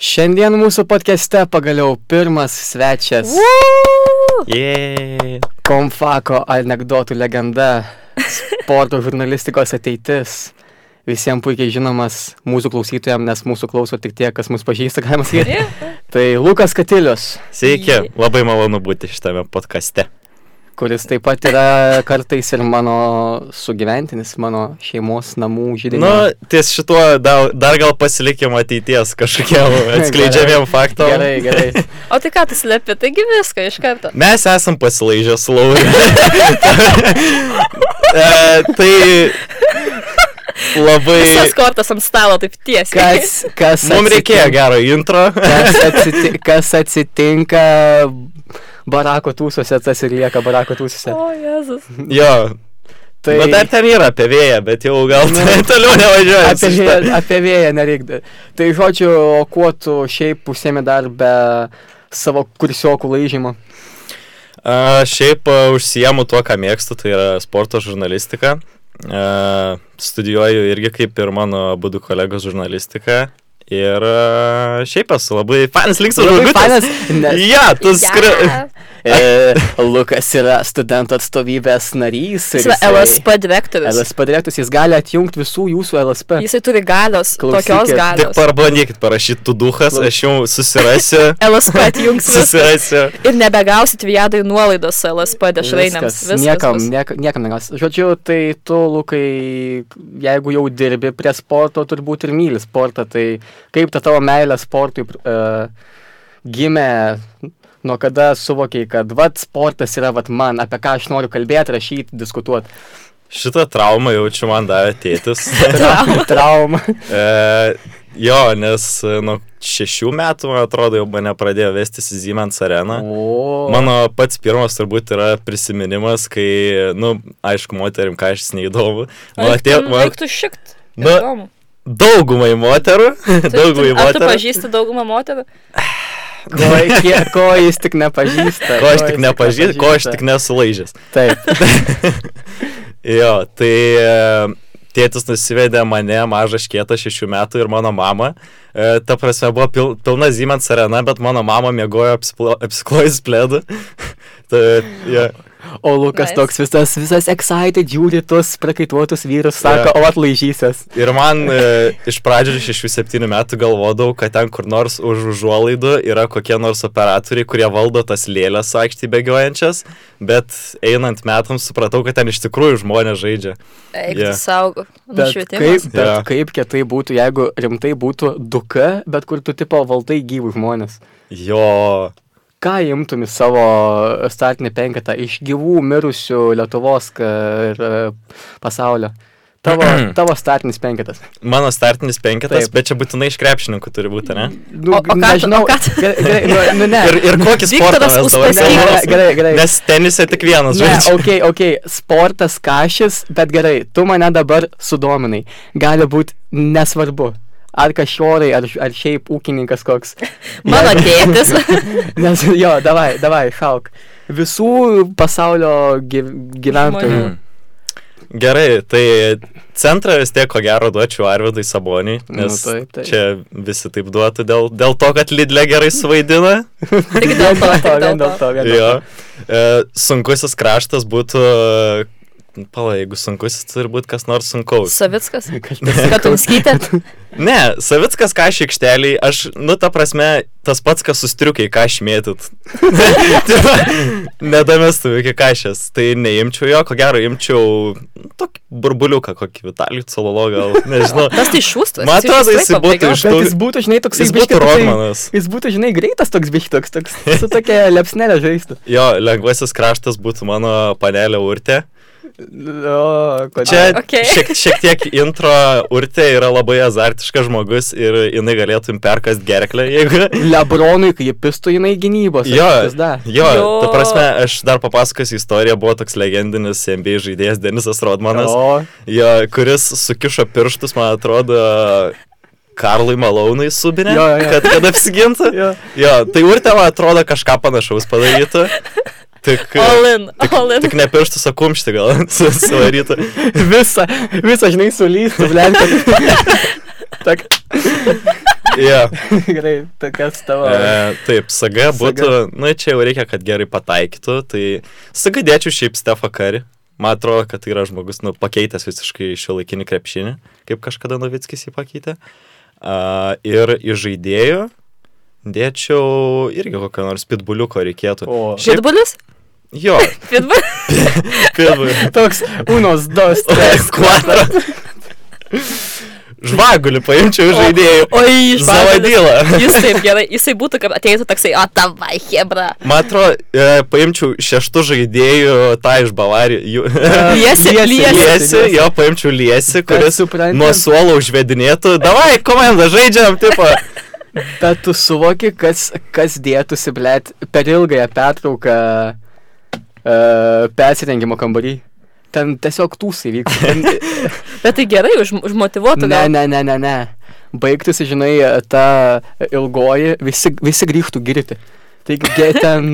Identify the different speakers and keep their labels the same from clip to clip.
Speaker 1: Šiandien mūsų podcast'e pagaliau pirmas svečias
Speaker 2: Yeah.
Speaker 1: Komfako anegdotų legenda, sporto žurnalistikos ateitis. Visiems puikiai žinomas mūsų klausytojams, nes mūsų klauso tik tie, kas mus pažįsta, galima sakyti. Tai Lukas Katilius,
Speaker 2: Sveiki,
Speaker 3: Jė.
Speaker 2: labai malonu būti šitame podkaste.
Speaker 1: kuris taip pat yra kartais ir mano sugyventinis, mano šeimos namų
Speaker 2: Nu,
Speaker 1: žydinys.
Speaker 2: ties šituo dar, dar gal pasilikim ateities kažkokiem atskleidžiamiem faktom.
Speaker 1: gerai, gerai.
Speaker 3: O tai ką tu slepi, taigi viską iš karto.
Speaker 2: Mes esam pasilaižę su Lauriu. e, tai
Speaker 3: Visas
Speaker 2: labai...
Speaker 3: kortas ant stalo taip tiesiai.
Speaker 1: Kas, kas,
Speaker 2: Mums reikėjo
Speaker 1: atsitinka-
Speaker 2: gero intro.
Speaker 1: kas, atsiti, kas atsitinka barako tūsose, tas ir lieka barako tūsose.
Speaker 3: O, Jėzus.
Speaker 2: jo. Tai...
Speaker 1: Tai
Speaker 2: Bet dar ten yra apie vėją, bet jau gal
Speaker 1: Nu,
Speaker 2: toliau nevažiuoju.
Speaker 1: apie, vėją, apie vėją nereikia. Tai žodžiu, o kuo tu šiaip užsiemi dar be savo kursiokų laižymo?
Speaker 2: A, šiaip a, užsiemu tuo, ką mėgstu, tai yra sporto žurnalistika. A, studijuoju irgi kaip ir mano būdų kolegos žurnalistiką. Ir a, šiaip esu labai fanas linksmas
Speaker 1: Labai
Speaker 2: žmogus.
Speaker 1: fainas, nes
Speaker 2: Ja, tu skri...
Speaker 1: e, Lukas yra studentų atstovybės narys.
Speaker 3: Jis yra LSP direktorius.
Speaker 1: LSP direktus, jis gali atjungti visų jūsų LSP. Jis...
Speaker 3: Jisai turi galios,
Speaker 1: Klausykit,
Speaker 3: tokios
Speaker 2: Tik
Speaker 3: galios.
Speaker 2: parbandykit parašyti tu duhas, aš jau susirasiu.
Speaker 3: LSP atjungs viską.
Speaker 2: susirasiu.
Speaker 3: Ir nebegausit viadai nuolaidos su LSP dešrainėms. Viskas
Speaker 1: niekam,
Speaker 3: bus.
Speaker 1: niekam, niekam negas. Žodžiu, tai tu, Lukai, jeigu jau dirbi prie sporto, turbūt ir myli sportą, tai kaip ta tavo meilė sportui uh, gimė, nuo kada suvokiai, kad vat sportas yra vat man, apie ką aš noriu kalbėti, rašyti, diskutuoti.
Speaker 2: Šitą traumą jaučiu man davė tėtis.
Speaker 1: Trauma. Trauma.
Speaker 2: E, jo, nes e, nuo šešių metų, man atrodo, jau mane pradėjo vestis į Siemens areną.
Speaker 1: O,
Speaker 2: Mano pats pirmas turbūt yra prisiminimas, kai, na, nu, aišku, moterim ką aš neįdomu. Man atėjo, man,
Speaker 3: Reiktų šikt.
Speaker 2: nu, daugumai moterų, daugumai
Speaker 3: Ar tu
Speaker 2: moterų,
Speaker 3: pažįsti daugumą moterų?
Speaker 1: ko, kie- ko jis tik nepažįsta.
Speaker 2: ko aš
Speaker 1: jis
Speaker 2: tik nepažįstu, ko aš tik nesulaižęs.
Speaker 1: Taip.
Speaker 2: Jo, tai e, tėtis nusivedė mane, mažą škietą, šešių metų ir mano mamą. E, Ta prasme, buvo pil, pilna Siemens arena, bet mano mama mėgojo apsiplo- apsiklojus plėdu. Tai, jo.
Speaker 1: O Lukas
Speaker 3: Nice.
Speaker 1: toks visas, visas excited, žiūri tuos prakaituotus vyrus, sako, yeah. o atlaižysias.
Speaker 2: Ir man e, iš pradžių 6-7 metų galvodavau, kad ten kur nors už užuolaidų yra kokie nors operatoriai, kurie valdo tas lėlės aikštį bėgiojančias, bet einant metams supratau, kad ten iš tikrųjų žmonės žaidžia.
Speaker 3: Eik,
Speaker 2: Jo.
Speaker 3: yeah. saugo.
Speaker 1: Bet
Speaker 3: Nušvietimas.
Speaker 1: kaip, bet
Speaker 2: Jo.
Speaker 1: yeah. kaip kietai būtų, jeigu rimtai būtų duka, bet kur tu tipo valdai gyvų žmonės.
Speaker 2: Jo,
Speaker 1: Ką imtum į savo startinį penketą iš gyvų mirusių Lietuvos ka- ir e, pasaulio? Tavo, tavo startinis penketas.
Speaker 2: mano startinis penketas,
Speaker 1: Taip.
Speaker 2: Taip. bet čia būtinai iš krepšininkų turi būti, ne?
Speaker 1: Nu,
Speaker 3: O- o ką tu- o ką tu-
Speaker 1: Gerai, gerai, nu, nu, ne.
Speaker 2: Ir, ir kokį sportą
Speaker 3: Viktoras
Speaker 2: mes dabar
Speaker 1: ne, ne, ne,
Speaker 2: kalbame?
Speaker 1: gerai, gerai.
Speaker 2: Nes tenise tik vienas
Speaker 1: Ne,
Speaker 2: žaidžia.
Speaker 1: ok, ok, sportas kažis, bet gerai, tu mane dabar sudominai. Gali būti nesvarbu. Ar kažorai, ar, ar šiaip ūkininkas koks.
Speaker 3: Mano tėtis.
Speaker 1: Nes jo, davai, davai, šauk. Visų pasaulio gy- gyventojų.
Speaker 3: Žmonių.
Speaker 2: Mhm. Gerai, tai centrą vis tiek ko gero duočiau Arvidai Saboniui,
Speaker 1: Nu,
Speaker 2: nes nu,
Speaker 1: taip, taip.
Speaker 2: čia visi taip duotų dėl, dėl to, kad Lidlė gerai suvaidina.
Speaker 3: Tik dėl to, tik
Speaker 1: vien dėl
Speaker 3: dėl to.
Speaker 1: to, vien dėl
Speaker 2: jo.
Speaker 1: to.
Speaker 2: E, sunkusis kraštas būtų... e, Pala, jeigu sunkusis, tai turi būti kas nors sunkaus.
Speaker 3: Savickas.
Speaker 1: Kažkas
Speaker 3: Katunskytė.
Speaker 2: Ne, Savickas ką aš aikšteliai, aš, nu, ta prasme, tas pats, kas sustriukiai, ką aš mėtyt. Nedamestų iki kažės. Tai neimčiau jo, ko gero, imčiau nu, tokį burbuliuką, kokį Vitalijų Cololo gal, nežinau.
Speaker 3: Tas tai šūstas.
Speaker 2: Man atrodo, jisai būtų iš
Speaker 1: Bet
Speaker 2: tų...
Speaker 1: jis būtų, žinai, toks
Speaker 2: Jis būtų Rodmanas.
Speaker 1: Jis būtų, žinai, greitas toks biški, toks, toks, su tokia lepsnelė žaistų.
Speaker 2: Jo, lengvasis kraštas būtų mano panelė Urtė.
Speaker 1: O,
Speaker 2: Čia
Speaker 1: kodėl?
Speaker 3: A, okei.
Speaker 2: šiek, šiek tiek intro Urtė yra labai azartiškas žmogus ir jinai galėtų jums perkast gerklę, jeigu...
Speaker 1: Lebronui, kai jį pistų, jinai gynybos.
Speaker 2: Jo,
Speaker 1: aktyvis dar.
Speaker 2: jo,
Speaker 3: Jo.
Speaker 2: ta prasme, aš dar papasakosiu istoriją, buvo toks legendinis NBA žaidėjas Denisas Rodmanas,
Speaker 1: O,
Speaker 2: jo, kuris sukišo pirštus, man atrodo, Karlui Malonui subinė,
Speaker 1: Jo, jo, jo.
Speaker 2: kad, kad apsigintų.
Speaker 1: jo.
Speaker 2: Jo, tai Urtė, man atrodo, kažką panašaus padarytų. Tik,
Speaker 3: Olin,
Speaker 2: tik,
Speaker 3: Olin.
Speaker 2: tik ne pirštus, o kumštį gal su- suvarytų.
Speaker 1: Visa, visa, žinai, sulystų, blenka. Tak.
Speaker 2: Jo.
Speaker 1: Gerai, tai kas tavo?
Speaker 2: E, taip, saga būtų, nu čia jau reikia, kad gerai pataikytų, tai saga dėčiau šiaip Stefą Kari. Man atrodo, kad tai yra žmogus, nu, pakeitęs visiškai šio laikinį krepšinį, kaip kažkada Novickis jį pakeitė. Uh, ir iš žaidėjų dėčiau irgi kokio nors pitbuliuko reikėtų.
Speaker 1: O.
Speaker 2: Šiaip,
Speaker 3: Pitbulis?
Speaker 2: jo,
Speaker 3: Pitbulis?
Speaker 2: pitbuliuko.
Speaker 1: Toks, unos, dos, tres.
Speaker 2: Kvadra. Žvagulį paimčiau iš žaidėjų.
Speaker 3: Oi, iš
Speaker 2: Zavadylą.
Speaker 3: Jis taip gerai, jisai būtų, kad ateitų toksai, o tavai, hebra.
Speaker 2: Man atrodo, e, paimčiau šeštų žaidėjų tą iš Bavarijos.
Speaker 3: Liesi, liesi.
Speaker 2: Liesi, jo, paimčiau Liesi, kuris
Speaker 1: supranti?
Speaker 2: nuo suolo užvedinėtų. Davai, komanda, žaidžiam, tipo.
Speaker 1: Bet tu suvoki, kas, kas dėtųsi, blėt, per ilgąją pertrauką uh, persirengimo kambarį. Ten tiesiog tūsai vyksta. Ten,
Speaker 3: Bet tai gerai, už, užmotivuotų
Speaker 1: ne, ne, ne, ne, ne. Baigtųsi, žinai, ta ilgoji, visi, visi grįžtų girti. Taigi, ge- ten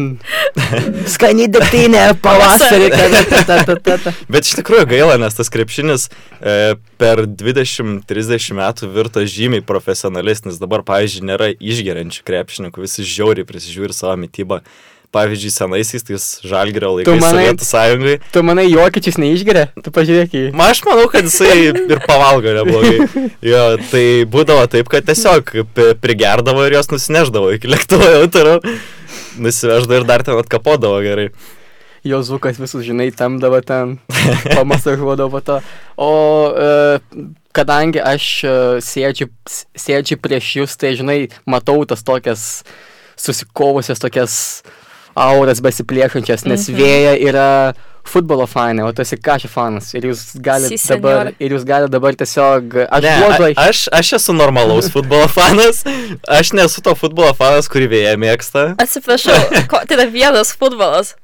Speaker 1: skani degtinė pavasarį. ta, ta, ta, ta, ta, ta.
Speaker 2: Bet iš tikrųjų gaila, nes tas krepšinis e, per 20-30 metų virto žymiai profesionalesnis. Dabar, pavyzdžiui, nėra išgeriančių krepšininkų, visi žiauriai prisižiūri savo mytybą. Pavyzdžiui, senaisiais, tai žalgerio laikais
Speaker 1: manai-
Speaker 2: Sovietų sąjungai.
Speaker 1: Tu manai, jokičius neišgeria? Tu pažiūrėk į jį.
Speaker 2: Ma, aš manau, kad jisai ir pavalgo neblogai. Jo, tai būdavo taip, kad tiesiog pi- prigerdavo ir jos nusineždavo iki lėktuvo jau toliau. Nusiveždavo ir dar ten atkapodavo gerai.
Speaker 1: Jozukas visus, žinai, tamdavo ten, pamasažuodavo po to. O e, kadangi aš e, sėdžiu, s- sėdžiu prieš jūs, tai, žinai, matau tas tokias susikovusias, tokias auras besipliekančias, nes
Speaker 3: Mhm.
Speaker 1: vėja yra futbolo fanai, o tu esi kažkoks fanas. Ir jūs galite
Speaker 3: Si,
Speaker 1: dabar,
Speaker 3: senjor.
Speaker 1: ir jūs galite dabar tiesiog... Aš
Speaker 2: Ne,
Speaker 1: blogai.
Speaker 2: a, aš, aš esu normalaus futbolo fanas. Aš nesu to futbolo fanas, kurį vėja mėgsta.
Speaker 3: Atsiprašau, ko, tai yra vienas futbolas.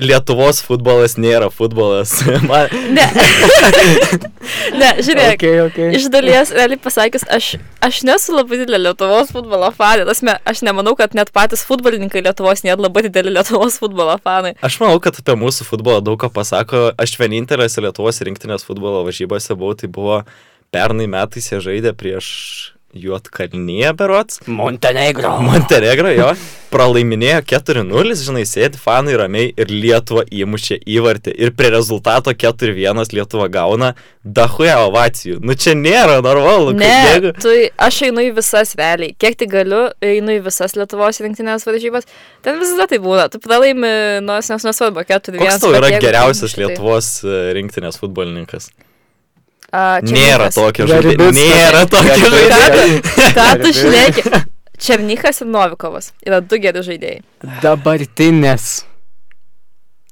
Speaker 2: Lietuvos futbolas nėra futbolas. Man,
Speaker 3: Ne. ne, žiūrėk.
Speaker 1: Okay, okay.
Speaker 3: Iš dalies, realiai pasakius, aš, aš nesu labai didelė Lietuvos futbolo fanė. Tasme, aš nemanau, kad net patys futbolininkai Lietuvos nėra labai dideli Lietuvos futbolo fanai.
Speaker 2: Aš manau, kad apie mūsų futbolą daug ką pasako. Aš vienintelėse Lietuvos rinktinės futbolo varžybose buvau, tai buvo pernai metais jie žaidė prieš Juotkalnyje berots.
Speaker 1: Montenegro.
Speaker 2: Montenegro jo pralaiminėjo 4-0, žinai, sėdi fanai ramiai ir Lietuva įmušė įvartį. Ir prie rezultato 4-1 Lietuva gauna dahuje ovacijų. Nu čia nėra normalu. kad
Speaker 3: Ne,
Speaker 2: jeigu-
Speaker 3: tu, aš einu į visas realiai. Kiek tik galiu, einu į visas Lietuvos rinktinės varžybas. Ten visada tai būna. Tu pralaimi, nors nes nesvarbu, keturi
Speaker 2: Koks tau yra
Speaker 3: tai-
Speaker 2: geriausias Lietuvos e, rinktinės futbolininkas? Nėra tokio žaidėjo.
Speaker 1: Garibickas.
Speaker 2: Nėra tokio žaidėjo.
Speaker 3: Ką tu šneki? Černykas ir Novikovas yra du geri žaidėjai.
Speaker 1: Dabartinės.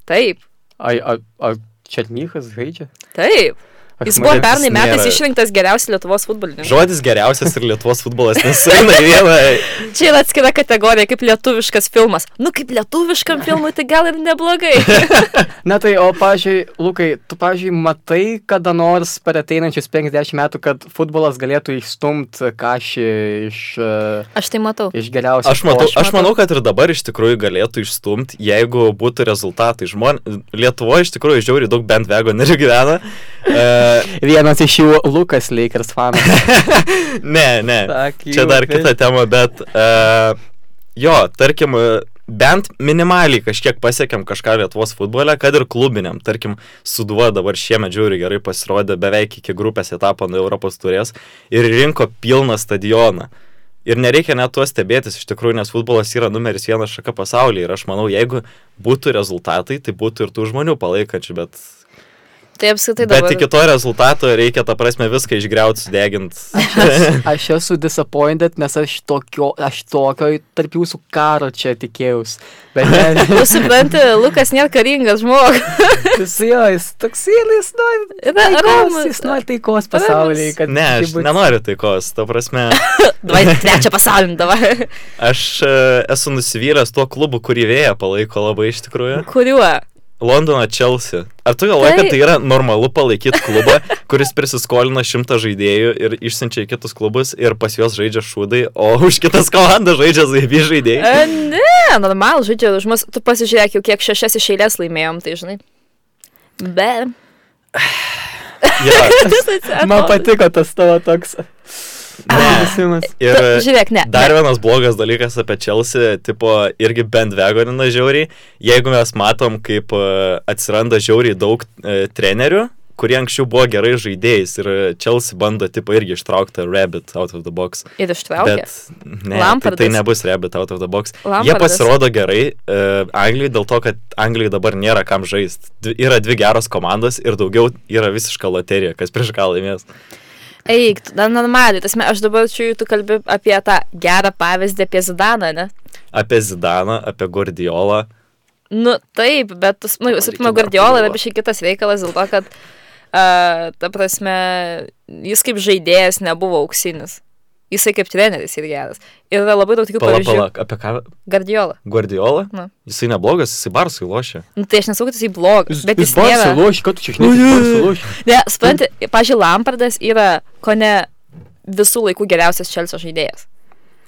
Speaker 3: Taip,
Speaker 1: Ai, ar, ar Černychas žaidžia?
Speaker 3: taip.
Speaker 1: Aš
Speaker 3: Jis buvo
Speaker 1: maniau-
Speaker 3: pernai
Speaker 2: jis
Speaker 3: metais
Speaker 2: nėra-
Speaker 3: išrinktas geriausiu Lietuvos futbolininku.
Speaker 2: Žodis geriausias ir Lietuvos futbolas nesuina į vieną.
Speaker 3: Čia yra atskira kategorija kaip lietuviškas filmas. Nu, kaip lietuviškam filmui, tai gal ir neblogai.
Speaker 1: Na tai, o, pažiūrėjau, Lukai, tu, pažiūrėjau, matai kada nors per ateinančius 50 metų, kad futbolas galėtų išstumti kažį iš, e,
Speaker 3: Aš tai matau.
Speaker 1: iš geriausių.
Speaker 2: Aš, matau,
Speaker 1: požiūrių?
Speaker 2: aš manau, kad ir dabar iš tikrųjų galėtų išstumti, jeigu būtų rezultatai. Žmon... Lietuvoje iš tikrųjų žiauriai daug bent vegonerių gyvena. E,
Speaker 1: Vienas iš jų Lukas Lakers fanas.
Speaker 2: ne, ne.
Speaker 1: Fuck
Speaker 2: Čia
Speaker 1: you,
Speaker 2: dar
Speaker 1: bitch.
Speaker 2: kita tema, bet e, jo, tarkim, e, bent minimaliai kažkiek pasiekėm kažką Lietuvos futbole, kad ir klubiniam, tarkim, Suduva dabar šiemet žiauriai gerai pasirodė, beveik iki grupės etapo nuo Europos turės ir rinko pilną stadioną. Ir nereikia net tuo stebėtis, iš tikrųjų, nes futbolas yra numeris vienas šaka pasaulyje ir aš manau, jeigu būtų rezultatai, tai būtų ir tų žmonių palaikančių, bet,
Speaker 3: Tai apskritai
Speaker 2: bet
Speaker 3: dabar.
Speaker 2: iki to rezultato reikia, ta prasme, viską išgriauti, sudeginti.
Speaker 1: Aš esu disappointed, nes aš tokio, aš tokio tarp jūsų karo čia tikėjus. Bet ne,
Speaker 3: Tu supranti, Lukas nėra karingas žmogus.
Speaker 1: jis jo, jis toks jis nori
Speaker 3: Yra
Speaker 1: taikos,
Speaker 3: ramus.
Speaker 1: jis nori taikos pasaulyje. kad
Speaker 2: Ne,
Speaker 1: tai
Speaker 2: aš
Speaker 1: būtų-
Speaker 2: nenoriu taikos, ta prasme.
Speaker 3: Dvai, trečią pasaulinį dabar.
Speaker 2: Aš e, esu nusivylęs tuo klubu, kurį vėja palaiko labai iš tikrųjų.
Speaker 3: Kuriuo?
Speaker 2: Londono Chelsea. Ar tu galvoji,
Speaker 3: Tai-
Speaker 2: kad tai yra normalu palaikyti klubą, kuris prisiskolina šimtą žaidėjų ir išsiunčia į kitus klubus ir pas juos žaidžia šūdai, o už kitas komandas žaidžia zaibi žaidėjai?
Speaker 3: E, ne, normal, žaidžia už mus. Tu pasižiūrėk, jau kiek šešias iš eilės laimėjom, tai žinai. Be.
Speaker 2: Ja.
Speaker 3: Atrodo.
Speaker 1: Man patiko tas tavo toks. Prisimas.
Speaker 2: Ir
Speaker 3: Ta- žiūrėk, ne,
Speaker 2: Dar vienas blogas dalykas apie Chelsea, tipo, irgi bendvegorina žiauriai. Jeigu mes matom, kaip e, atsiranda žiauriai daug e, trenerių, kurie anksčiau buvo gerai žaidėjais ir e, Chelsea bando, tipo, irgi ištraukti Rabbit out of the box.
Speaker 3: Ir ištraukė.
Speaker 2: Bet ne, tai,
Speaker 3: Lampardas.
Speaker 2: tai nebus Rabbit out of the box. Jie
Speaker 3: Lampardas.
Speaker 2: pasirodo gerai uh, Anglijai dėl to, kad Anglijai dabar nėra kam žaisti. Yra dvi geros komandos ir daugiau yra visiška loterija, kas prieš ką laimės.
Speaker 3: Eik, tu- na, normaliai, tas mes, aš dabar čia jau tu kalbi apie tą gerą pavyzdį apie Zidaną, ne?
Speaker 2: Apie Zidaną, apie Gordiolą.
Speaker 3: Nu, taip, bet, tu s- nu, visų
Speaker 2: Reikia
Speaker 3: pirma,
Speaker 2: dar
Speaker 3: Guardiola yra
Speaker 2: pagalvot.
Speaker 3: biškai kitas reikalas dėl to, kad, uh, ta prasme, jis kaip žaidėjas nebuvo auksinis. Jisai kaip treneris ir geras. Ir yra labai daug tokių
Speaker 2: Pala,
Speaker 3: pavyzdžių.
Speaker 2: pala, apie ką?
Speaker 3: Guardiola.
Speaker 2: Guardiola?
Speaker 3: Na.
Speaker 2: Jisai neblogas, jisai barsui lošia.
Speaker 3: Nu, tai aš nesakau, kad jisai blogas, bet jis, jis
Speaker 1: Barsi
Speaker 3: nėra.
Speaker 1: loš, kad tu
Speaker 3: Nu,
Speaker 1: čia šneki, Barsi loš.
Speaker 3: Ne, suprantate, pažiūrėjau, Lampardas yra, ko ne, visų laikų geriausias Čelso žaidėjas.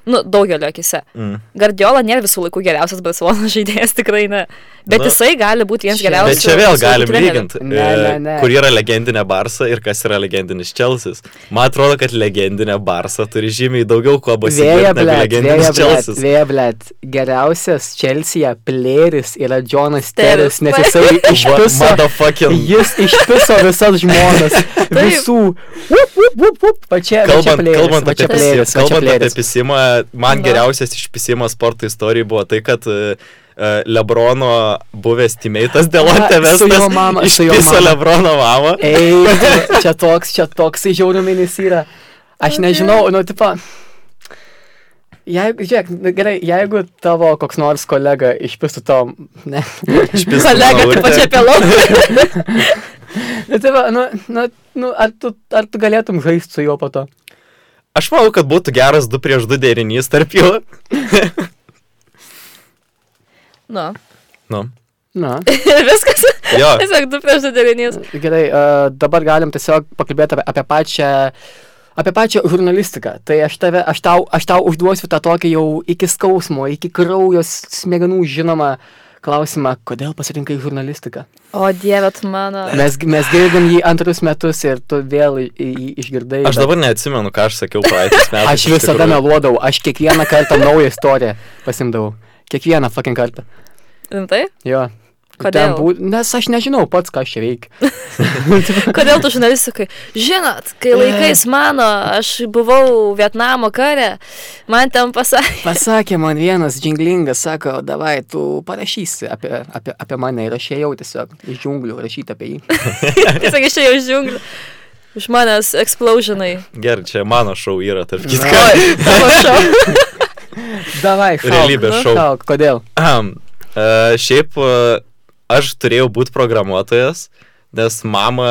Speaker 3: Nu, daugelio akise.
Speaker 2: Mm.
Speaker 3: Gardiola nėra visų laikų geriausias Barcelonas žaidėjas, tikrai ne. Bet
Speaker 2: Na,
Speaker 3: Na, jisai gali būti vienas
Speaker 1: čia-
Speaker 2: Bet
Speaker 1: Barsui-
Speaker 3: geriausių.
Speaker 2: čia vėl
Speaker 3: visų laikų
Speaker 2: galim
Speaker 3: trenerių.
Speaker 2: lyginti,
Speaker 1: Ne, ne, ne.
Speaker 2: kur yra legendinė barsa ir kas yra legendinis Čelsis. Man atrodo, kad legendinė barsa turi žymiai daugiau kuo
Speaker 1: Vėja,
Speaker 2: pasigirti negu
Speaker 1: blėt, vėja,
Speaker 2: legendinis
Speaker 1: blėt,
Speaker 2: Čelsis.
Speaker 1: vėja, blėt. Geriausias Čelsiją plėris yra Jonas
Speaker 3: Teris.
Speaker 1: Teris, nes jisai išpiso.
Speaker 2: Motherfucking.
Speaker 1: Jis išpiso visas žmonas. Visų. Up, up, up, up. Pačia,
Speaker 2: Kalbant,
Speaker 1: plėris,
Speaker 2: kalbant, apie,
Speaker 1: pačia plėris,
Speaker 2: plėris,
Speaker 1: pačia
Speaker 2: kalbant apie
Speaker 1: plėris.
Speaker 2: pisimą, man
Speaker 3: Na.
Speaker 2: geriausias išpisimas sporto istorijoje buvo tai, kad e, e, Lebrono buvęs timeitas Delonte
Speaker 1: Na, su
Speaker 2: Vestas
Speaker 1: jo mama- su jo
Speaker 2: išpiso
Speaker 1: mama.
Speaker 2: Lebrono mamą.
Speaker 1: Ei, tu, čia toks, čia toks žiauruminis yra. Aš nežinau, nu, tipo. Jeigu, žiūrėk, nu, gerai, jeigu tavo koks nors kolega išpistų tau, ne,
Speaker 2: Išpiso
Speaker 3: Kolega, tai
Speaker 2: Laurtę.
Speaker 3: pačia apie lauką.
Speaker 1: nu, tai va, nu, nu, nu, ar, tu, ar tu galėtum žaisti su juo po to?
Speaker 2: Aš manau, kad būtų geras 2 prieš 2 derinys tarp jų.
Speaker 3: Nu,
Speaker 2: Nu.
Speaker 1: Na,
Speaker 3: ir viskas.
Speaker 2: Jo,
Speaker 3: Tiesiog du prieš du derinys.
Speaker 1: gerai, uh, dabar galim tiesiog pakalbėti apie, apie pačią, apie pačią žurnalistiką. Tai aš, tave, aš, tau, aš tau užduosiu tą tokį jau iki skausmo, iki kraujo smegenų žinomą klausimą, kodėl pasirinkai žurnalistiką?
Speaker 3: O dieve, tu mano.
Speaker 1: Mes, mes girdim jį antrus metus ir tu vėl į- į- jį išgirdai.
Speaker 2: aš
Speaker 1: bet-
Speaker 2: dabar neatsimenu, ką aš sakiau praeitais metais.
Speaker 1: Aš
Speaker 2: iš
Speaker 1: visada
Speaker 2: tikrųjų.
Speaker 1: meluodavau, aš kiekvieną kartą naują istoriją pasimdavau. Kiekvieną fucking kartą.
Speaker 3: Rimtai?
Speaker 1: Jo.
Speaker 3: Kodėl?
Speaker 1: Ten Bū... Nes aš nežinau pats, ką aš čia veikiu.
Speaker 3: Kodėl tu žurnalistikai? Žinot, kai laikais mano, aš buvau Vietnamo kare, man ten pasakė.
Speaker 1: Pasakė man vienas džinglingas, sako, davai, tu parašysi apie, apie, apie mane ir aš ėjau tiesiog iš džunglių rašyti apie jį.
Speaker 3: Tiesiog išėjau iš džiunglių. Už manęs explosionai.
Speaker 2: Gerai, čia mano šau yra, tarp kitko.
Speaker 3: Oi, prašau.
Speaker 1: Davai, šauk.
Speaker 2: Realybės
Speaker 1: nu,
Speaker 2: šou.
Speaker 1: Šauk, kodėl?
Speaker 2: Ahem. E, Šiaip e, aš turėjau būti programuotojas, nes mama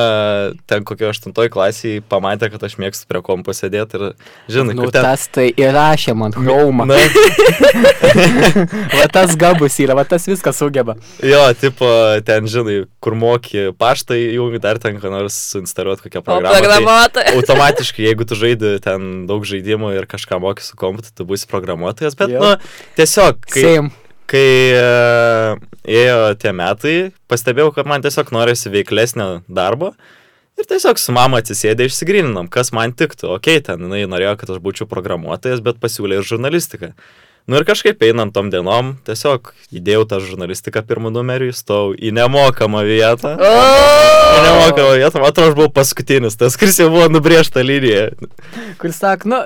Speaker 2: ten kokio 8 klasėje pamatė, kad aš mėgstu prie kompo sėdėti ir žinai,
Speaker 1: Nu,
Speaker 2: kur ten...
Speaker 1: tas tai įrašė man, raumą.
Speaker 2: Na,
Speaker 1: Va tas gabus yra, va tas viską sugeba.
Speaker 2: jo, tipo, ten, žinai, kur moki paštą įjungi, dar ten ką nors suinstaliuoti kokią
Speaker 3: O
Speaker 2: programą. tai-
Speaker 3: programuotoja.
Speaker 2: automatiškai, jeigu tu žaidi ten daug žaidimų ir kažką moki su kompiuteriu, tu būsi programuotojas, bet,
Speaker 1: Jo.
Speaker 2: nu, tiesiog, kai,
Speaker 1: Seim.
Speaker 2: kai e, ėjo tie metai, pastebėjau, kad man tiesiog norisi veiklesnio darbo. Ir tiesiog su mama atsisėdė išsigryninom, kas man tiktų. Ok, ten jinai norėjo, kad aš būčiau programuotojas, bet pasiūlė ir žurnalistiką. Nu ir kažkaip einant tom dienom, tiesiog įdėjau tą žurnalistiką pirmą numerį, įstojau į nemokamą vietą. Į nemokamą vietą, man atrodo, aš buvau paskutinis, tas, kuris jau buvo nubriežta linija.
Speaker 1: kur sako, nu,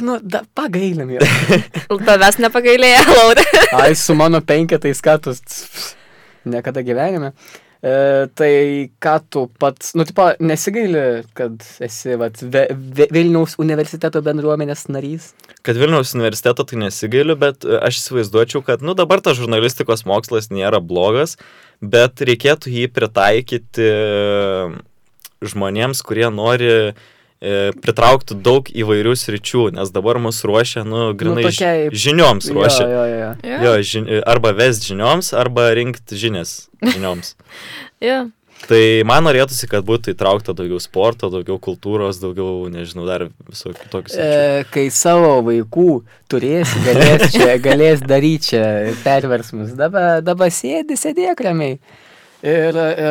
Speaker 1: nu, da, pagailim jo.
Speaker 3: Tavęs nepagailėjo, Laura.
Speaker 1: Ai, su mano penketais, ką tu s- niekada gyvenime. E, tai ką tu pats, nu, tipo, nesigaili, kad esi vat, ve, ve, Vilniaus universiteto bendruomenės narys?
Speaker 2: kad Vilniaus universiteto tai nesigailiu, bet e, aš įsivaizduočiau, kad, nu, dabar tas žurnalistikos mokslas nėra blogas, bet reikėtų jį pritaikyti e, žmonėms, kurie nori e, pritraukti daug įvairių sričių, nes dabar mus ruošia, nu, grinai ži-
Speaker 1: tokiai-
Speaker 2: žinioms ruošia.
Speaker 1: Jo, jo, jo.
Speaker 2: Jo, žin, e, arba vest žinioms, arba rinkti žinias žinioms.
Speaker 3: Jo.
Speaker 2: tai man norėtųsi, kad būtų įtraukta daugiau sporto, daugiau kultūros, daugiau, nežinau, dar visokių tokių sričių.
Speaker 1: E, kai savo vaikų turėsi, galės, čia, galės daryti čia perversmus. Dabar, dabar sėdi, sėdėk ramiai. Ir e,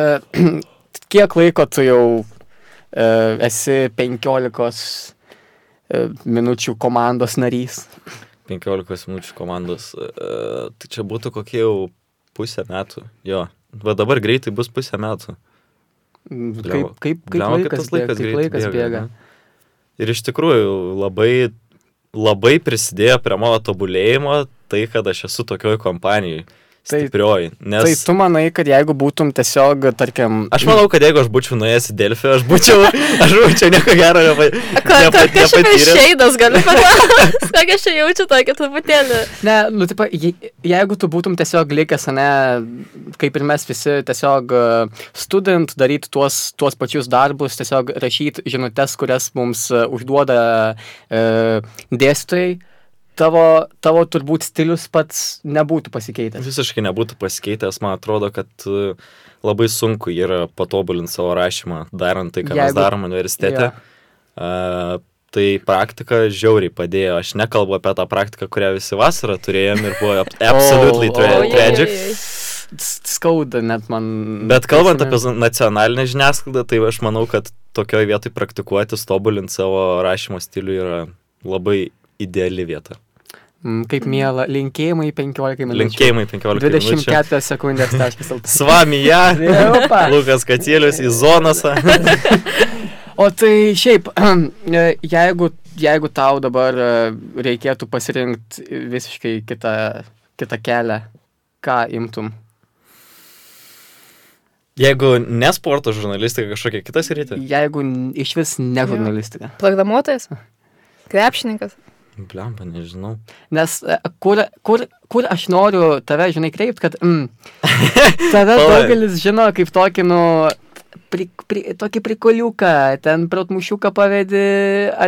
Speaker 1: kiek laiko tu jau e, esi 15 e, minučių komandos narys.
Speaker 2: 15 minučių komandos. E, Tai čia būtų kokie jau pusę metų. Jo. Va dabar greitai bus pusę metų.
Speaker 1: Mm, Kaip,
Speaker 2: Blemba.
Speaker 1: kaip, kaip
Speaker 2: Blemba, kaip
Speaker 1: laikas
Speaker 2: tas
Speaker 1: bėga.
Speaker 2: laikas
Speaker 1: Kaip
Speaker 2: greitai
Speaker 1: laikas
Speaker 2: bėga,
Speaker 1: bėga.
Speaker 2: ne? Ir iš tikrųjų labai, labai prisidėjo prie mano tobulėjimo tai, kad aš esu tokioj kompanijai.
Speaker 1: Tai-
Speaker 2: Stiprioji. Nes...
Speaker 1: Tai tu manai, kad jeigu būtum tiesiog, tarkim,
Speaker 2: Aš manau, kad jeigu aš būčiau nuėjęs į Delfį, aš būčiau, aš būčiau nieko gero nepa,
Speaker 3: Ko-
Speaker 2: nepa,
Speaker 3: Kokia čia
Speaker 2: nepatyręs.
Speaker 3: šeidas gali padaryti? Kokia čia jaučiu tokį truputėlį.
Speaker 1: Ne, nu, tipo, je, jeigu tu būtum tiesiog likęs, ne, kaip ir mes visi, tiesiog e, student, daryti tuos, tuos pačius darbus, tiesiog rašyti žinutes, kurias mums e, užduoda e, dėstytojai, tavo, tavo turbūt stilius pats nebūtų pasikeitęs.
Speaker 2: Visiškai nebūtų pasikeitęs, man atrodo, kad e, labai sunku yra patobulinti savo rašymą, darant tai, ką
Speaker 1: Jeigu-
Speaker 2: mes darom universitete.
Speaker 1: Jo.
Speaker 2: A, tai praktika žiauriai padėjo. Aš nekalbu apie tą praktiką, kurią visi vasarą turėjom ir buvo ab- absolutely
Speaker 1: O,
Speaker 2: tra
Speaker 1: o,
Speaker 2: tragic.
Speaker 3: oi, oi, oi.
Speaker 1: S- Skauda net man.
Speaker 2: Bet kalbant apie
Speaker 1: prisimint.
Speaker 2: z- nacionalinę žiniasklaidą, tai aš manau, kad tokioje vietoje praktikuotis, tobulinti savo rašymo stilių yra labai ideali vieta.
Speaker 1: Mm, Kaip mėla, linkėjimai 15 minučių.
Speaker 2: Linkėjimai 15 minučių.
Speaker 1: 24 sekundės taškas. LT.
Speaker 2: Svamija,
Speaker 1: Opa.
Speaker 2: Lukas Katėlius į zonas.
Speaker 1: O tai šiaip, e, jeigu, jeigu tau dabar e, reikėtų pasirinkti visiškai kitą, kitą kelią, ką imtum?
Speaker 2: Jeigu ne sporto žurnalistika, kažkokia kitas rytė.
Speaker 1: Jeigu n- iš vis ne
Speaker 3: Jo.
Speaker 1: žurnalistika.
Speaker 3: Plakdamuotojas? Krepšininkas?
Speaker 2: Blemba, nežinau.
Speaker 1: Nes e, kur, kur, kur aš noriu tave, žinai, kreipti, kad mm, tave
Speaker 2: Palauk.
Speaker 1: daugelis žino kaip tokį, nu, pri, pri, tokį prikoliuką, ten protmušiuką pavedi,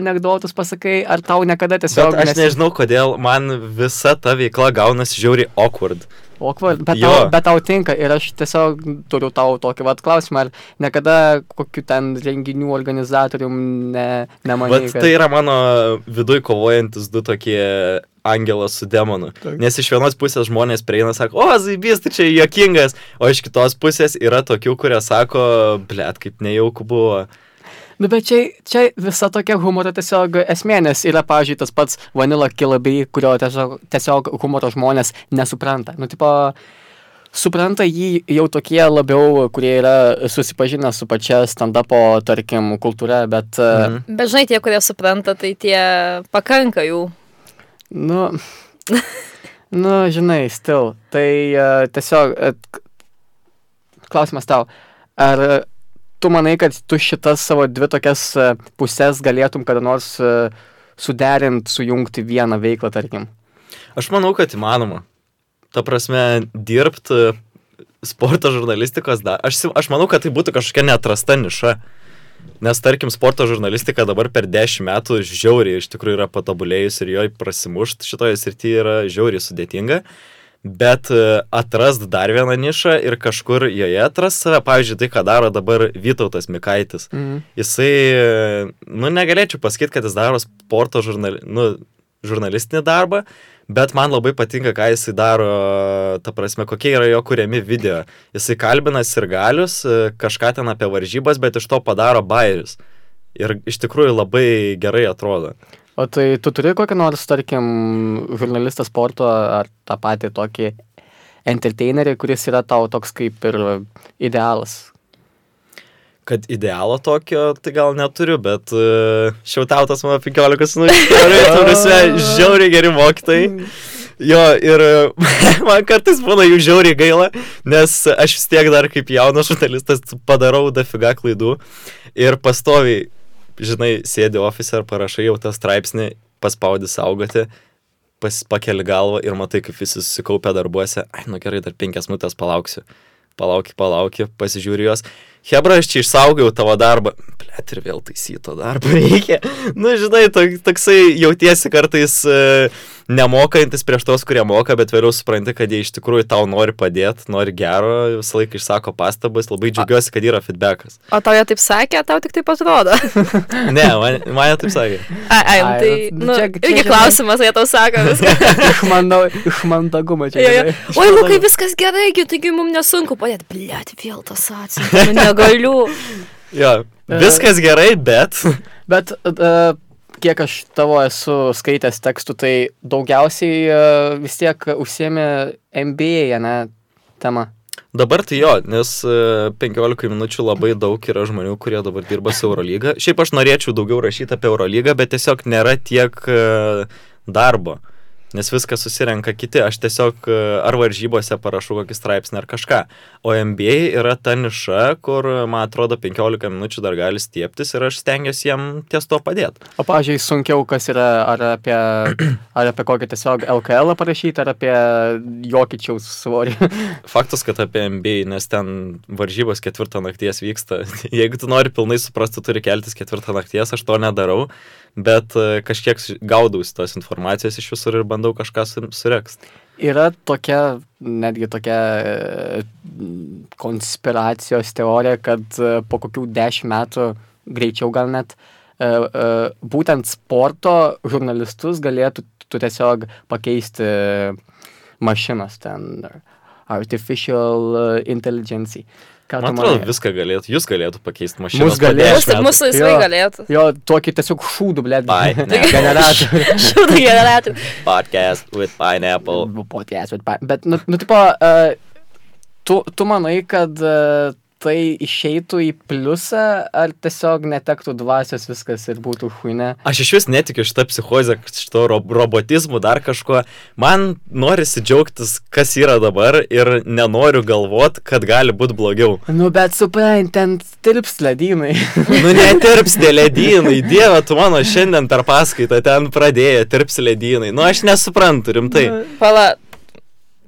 Speaker 1: anegdotus pasakai, ar tau niekada tiesiog...
Speaker 2: Bet aš nežinau, kodėl man visa ta veikla gaunasi žiauriai awkward.
Speaker 1: Awkward, bet,
Speaker 2: Jo.
Speaker 1: tau, bet tau tinka ir aš tiesiog turiu tau tokį vat klausimą, ar niekada kokiu ten renginių organizatorium ne, nemanai,
Speaker 2: Bet tai yra mano viduj kovojantis du tokie angelas su demonu. Nes iš vienos pusės žmonės prieina, sako, o, zaibys, tai čia jokingas, o iš kitos pusės yra tokių, kurie sako, blėt, kaip nejaukų buvo.
Speaker 1: Nu, bet čia, čia visa tokia humoro tiesiog esmė, nes yra, pavyzdžiui, tas pats Vanilla Kilabi, kurio tiesiog, tiesiog humoro žmonės nesupranta. Nu, tipo, supranta jį jau tokie labiau, kurie yra susipažinę su pačia stand-upo, tarkim, kultūra, bet... Mhm.
Speaker 2: Mhm.
Speaker 3: Bet žinai, tie, kurie supranta, tai tie pakanka jų.
Speaker 1: Nu, nu žinai, still. Tai uh, tiesiog uh, klausimas tau. Ar e, tu manai, kad tu šitas savo dvi tokias uh, pusės galėtum kada nors uh, suderinti, sujungti vieną veiklą, tarkim?
Speaker 2: Aš manau, kad įmanoma. Ta prasme, dirbti sporto žurnalistikos, da, aš, si- aš manau, kad tai būtų kažkokia netrasta niša. Nes tarkim, sporto žurnalistika dabar per dešimt metų žiauriai iš tikrųjų yra patobulėjus ir joj prasimušt šitoje srityje yra žiauriai sudėtinga. Bet e, atrast dar vieną nišą ir kažkur joje atrast save, pavyzdžiui, tai, ką daro dabar Vytautas Mikaitis
Speaker 1: Mm.
Speaker 2: jisai, e, nu, negalėčiau pasakyti, kad jis daro sporto žurnali, nu, žurnalistinį darbą, bet man labai patinka, ką jisai daro, ta prasme, kokie yra jo kuriami video. Jisai kalbina ir galius, kažką ten apie varžybas, bet iš to padaro bairius. Ir iš tikrųjų labai gerai atrodo.
Speaker 1: O tai tu turi kokį nors, tarkim, žurnalistą sporto ar tą patį tokį entertainerį, kuris yra tau toks kaip ir idealas?
Speaker 2: Kad idealo tokio, tai gal neturiu, bet e, šiautautas mano 15 minučių, tu visi žiauriai geri mokytojai. Jo, ir e, man kartais būna jų žiauriai gaila, nes aš vis tiek dar kaip jaunas žurnalistas padarau dafiga klaidų ir pastoviai, žinai, sėdi ofise ar parašai jau tą straipsnį, paspaudi saugoti, pas, pakeli galvą ir matai, kaip visi susikaupia darbuose. Ai, nu gerai, dar penkias minutės palauksiu. Palauki, palauki, pasižiūri juos. Hebra, aš čia išsaugau tavo darbą. Plėt ir vėl taisyto darbo reikia. Nu, žinai, tok- toksai jautiesi kartais e, nemokantis prieš tos, kurie moka, bet vėliau supranti, kad jie iš tikrųjų tau nori padėti, nori gero, visą laiką išsako pastabas, labai džiaugiuosi, kad yra feedbackas.
Speaker 3: O tau jie taip sakė, tau tik taip atrodo.
Speaker 2: Ne, man, man jie taip sakė.
Speaker 3: Ai, ai,
Speaker 1: Ai,
Speaker 3: tai
Speaker 1: vat,
Speaker 3: nu,
Speaker 1: čia-
Speaker 3: čia,
Speaker 1: čia
Speaker 3: irgi
Speaker 1: žinai.
Speaker 3: klausimas, jie tau sako viską.
Speaker 1: Iš mano- Iš mandagumo čia.
Speaker 3: Jo, jo.
Speaker 1: gerai.
Speaker 3: Oi, Lukai, viskas gerai, gi, taigi mums nesunku padėti. Bliat, vėl tas nu, atsiprašau, negaliu.
Speaker 2: Jo,
Speaker 1: E.
Speaker 2: viskas gerai, bet.
Speaker 1: Bet uh, kiek aš tavo esu skaitęs tekstų, tai daugiausiai e, vis tiek užsiemi MBA, ne, tema.
Speaker 2: Dabar tai jo, nes e, 15 minučių labai daug yra žmonių, kurie dabar dirba su Eurolyga. Šiaip aš norėčiau daugiau rašyti apie Eurolygą, bet tiesiog nėra tiek e, darbo, nes viską susirenka kiti. Aš tiesiog e, ar varžybose parašau kokį straipsnį ar kažką. O MBA yra ta niša, kur, man atrodo, 15 minučių dar gali stieptis ir aš stengiuosi jiem ties to padėti.
Speaker 1: O, pažiūrėjau, sunkiau, kas yra, ar apie, ar apie kokią tiesiog LKL parašyti, ar apie jokičiaus svorį.
Speaker 2: Faktas, kad apie NBA, nes ten varžybos ketvirtą nakties vyksta. Jeigu tu nori pilnai suprasti, turi keltis ketvirtą nakties, aš to nedarau, bet e, kažkiek su- gaudausi tos informacijos iš visur ir bandau kažką su- sureksti.
Speaker 1: Yra tokia, netgi tokia e, konspiracijos teorija, kad e, po kokių dešimt metų, greičiau gal net, e, e, būtent sporto žurnalistus galėtų tu tiesiog pakeisti mašinas ten, artificial intelligence. Ką tu
Speaker 2: Man atrodo,
Speaker 1: manai?
Speaker 2: viską galėtų, jūs galėtų pakeisti mašiną.
Speaker 1: Mus galėtų. Aš
Speaker 3: Mūsų, mūsų laisvai
Speaker 1: Jo.
Speaker 3: galėtų.
Speaker 1: Jo, tokį tiesiog šūdų, blėt,
Speaker 2: Ai, ne.
Speaker 1: generatorių.
Speaker 3: Šiaurų generatorių.
Speaker 2: Podcast with Pineapple.
Speaker 1: Podcast, bet, pa- bet nu, nu tipo, uh, tu, tu manai, kad uh, tai išeitų į pliusą, ar tiesiog netektų dvasios viskas ir būtų huine?
Speaker 2: Aš iš vis netikiu šitą psichozę, šito ro robotizmu, dar kažkuo. Man norisi džiaugtis, kas yra dabar ir nenoriu galvot, kad gali būti blogiau.
Speaker 1: Nu, bet suprant, ten tirps ledynai.
Speaker 2: Nu netirps tie ledynai, dieve, tu mano šiandien per paskaitą ten pradėjo tirps ledynai. Nu aš nesuprantu, rimtai.
Speaker 3: Pala,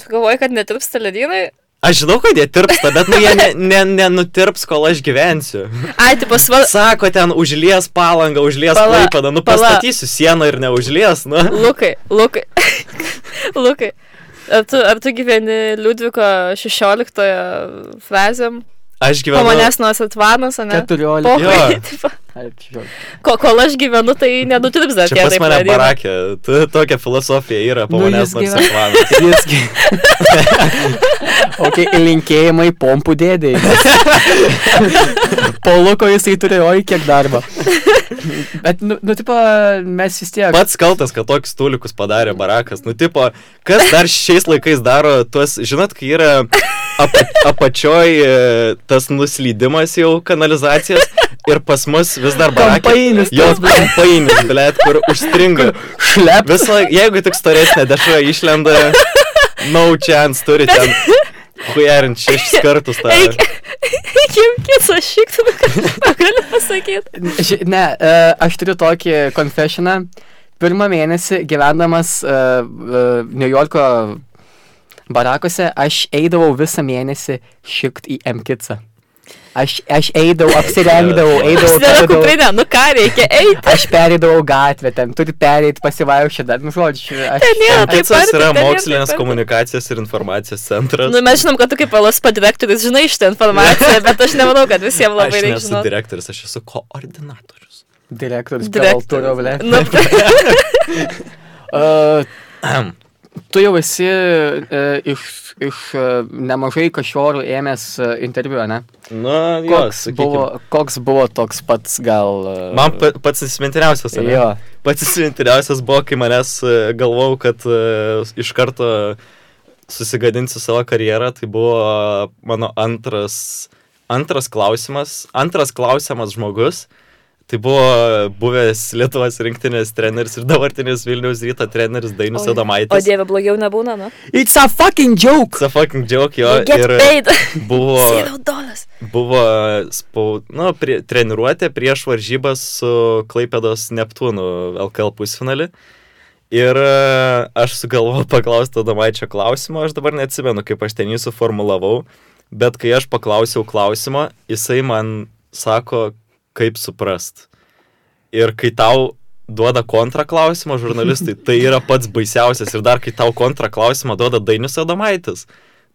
Speaker 3: tu galvoji, kad netirpsta ledynai?
Speaker 2: Aš žinau, kad jie tirpsta, bet nu jie ne- ne- nenutirps, ne, kol aš gyvensiu.
Speaker 3: Ai, tai pasval...
Speaker 2: Sako ten užlies palangą, užlies
Speaker 3: Pala,
Speaker 2: laipadą, nu
Speaker 3: pala.
Speaker 2: pastatysiu sieną ir neužlies, nu.
Speaker 3: Lukai, Lukai. Lukai. Ar tu, ar tu gyveni Liudviko 16 frazėm?
Speaker 2: Aš
Speaker 3: Po
Speaker 2: gyvenu.
Speaker 3: manęs nuo Satvanos, ne?
Speaker 1: 14.
Speaker 2: Jo.
Speaker 3: Pohui, tipo,
Speaker 1: Ai, čia-
Speaker 3: ko, kol aš gyvenu, tai nenutirps dar
Speaker 2: Čia
Speaker 3: tie
Speaker 2: pas
Speaker 3: taip
Speaker 2: mane
Speaker 3: vadinami.
Speaker 2: barakė, tu, tokia filosofija yra, po
Speaker 1: Nu, jis
Speaker 2: manęs nors
Speaker 1: gyvena-
Speaker 2: sekvanas.
Speaker 1: Visgi. ok, linkėjimai pompų dėdėjai. Poluko jisai turėjo, oi, kiek darbo. Bet, nu, nu tipo, mes vis tiek.
Speaker 2: Pats kaltas, kad tokius tulikus padarė barakas. Nu, tipo, kas dar šiais laikais daro tuos, žinot, kai yra apa, apačioj e, tas nuslydimas jau kanalizacijos ir pas mus vis dar barakai.
Speaker 1: Kampainis
Speaker 2: Jos
Speaker 1: tas, blet.
Speaker 2: kampainis, blėt, kur užstringa.
Speaker 1: šlep.
Speaker 2: Visą laiką, jeigu tik storesnė dešra išlenda, no chance turi ten. Hujarint šešis kartus tą.
Speaker 3: Eik, Kimkis, aš šiktų, ką nu, galiu pasakyti.
Speaker 1: Ži- Ne, e, aš turiu tokį konfesioną. Pirmą mėnesį gyvendamas e, e, New Yorko barakose, aš eidavau visą mėnesį šikt į M-kitsą. Aš, aš eidavau, apsirengdavau,
Speaker 3: Aš
Speaker 1: eidavau.
Speaker 3: nėra
Speaker 1: tapdavau-
Speaker 3: kuprinė, nu ką reikia, eiti.
Speaker 1: Aš perėdavau gatvę, ten turi perėti pasivaikščioti, dar, nu, žodžiu, aš...
Speaker 3: Ten nėra taip
Speaker 2: Atsas
Speaker 3: arti,
Speaker 2: yra
Speaker 3: ten ir taip
Speaker 2: mokslinės
Speaker 3: arti.
Speaker 2: komunikacijos ir informacijos centras.
Speaker 3: Nu, mes žinom, kad tu kaip LSP direktorius žinai šitą informaciją, bet aš nemanau, kad visiems
Speaker 2: Aš
Speaker 3: labai reikia
Speaker 2: nesu
Speaker 3: žinoti.
Speaker 2: direktorius, aš esu koordinatorius.
Speaker 1: Direktorius,
Speaker 3: Direktorius.
Speaker 1: direktorius, ble.
Speaker 3: Nu,
Speaker 1: Uh, E, tu jau esi uh, iš, iš uh, nemažai kašiorų ėmęs uh, interviu, ne?
Speaker 2: Na, jo,
Speaker 1: Koks
Speaker 2: sakykim.
Speaker 1: buvo, koks buvo toks pats gal... e,
Speaker 2: Man pa, pats įsimintiniausias, ne?
Speaker 1: Jo.
Speaker 2: Pats įsimintiniausias buvo, kai manęs e, galvojau, kad e, iš karto susigadinsiu savo karjerą, tai buvo mano antras, antras klausimas, antras klausiamas žmogus. Tai buvo buvęs Lietuvos rinktinės treneris ir dabartinis Vilniaus ryto treneris Dainis
Speaker 3: O
Speaker 2: Adomaitis.
Speaker 3: dieve, blogiau nebūna, nu.
Speaker 1: It's a fucking joke!
Speaker 2: It's a fucking joke, jo.
Speaker 3: Get
Speaker 2: ir
Speaker 3: paid.
Speaker 2: buvo...
Speaker 3: Zero dollars.
Speaker 2: buvo spau, nu, prie, treniruotė prieš varžybas su Klaipėdos Neptūnu LKL pusfinalį. Ir e, aš sugalvojau paklausti Adomaičio klausimo, aš dabar neatsimenu, kaip aš ten jį suformulavau, bet kai aš paklausiau klausimo, jisai man sako, kaip suprast. Ir kai tau duoda kontraklausimą žurnalistai, tai yra pats baisiausias. Ir dar kai tau kontraklausimą duoda Dainis Adomaitis,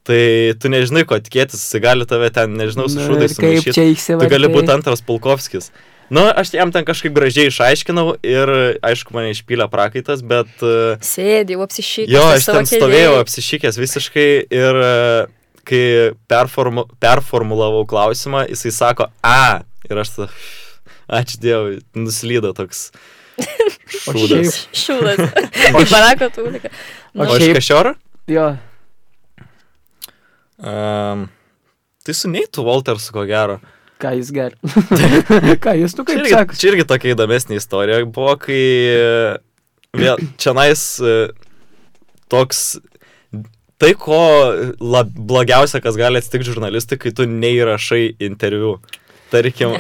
Speaker 2: tai tu nežinai, ko tikėtis, jis gali tave ten, nežinau, su šūdais
Speaker 1: kaip čia
Speaker 2: sumaišyti. Tu
Speaker 3: Tai
Speaker 1: įsivaizduoji.
Speaker 2: gali būti antras Pulkovskis. Nu, aš jam ten kažkaip gražiai išaiškinau ir, aišku, mane išpylė prakaitas, bet... e,
Speaker 3: Sėdėjau, apsišykiau.
Speaker 2: Jo, aš ten stovėjau apsišykęs visiškai ir e, kai performu, performulavau klausimą, jisai sako, a, ir aš tada, ačiū Dievui, nuslydo toks
Speaker 1: O
Speaker 2: Šūdas.
Speaker 1: šiaip,
Speaker 3: Šiūlas. Kaip barako tūlika.
Speaker 1: o
Speaker 2: O iš
Speaker 1: šiaip,
Speaker 2: Kašiorą?
Speaker 1: jo,
Speaker 2: Um, tai su Neitu Waltersu, ko gero.
Speaker 1: ką jis ger. ką jis, tu
Speaker 2: Čia
Speaker 1: kaip
Speaker 2: irgi,
Speaker 1: sakai?
Speaker 2: čia irgi tokia įdomesnė istorija buvo, kai e, vėl čia nais toks tai, ko lab, blogiausia, kas gali atsitikti žurnalistui, kai tu neįrašai interviu. Tarkim,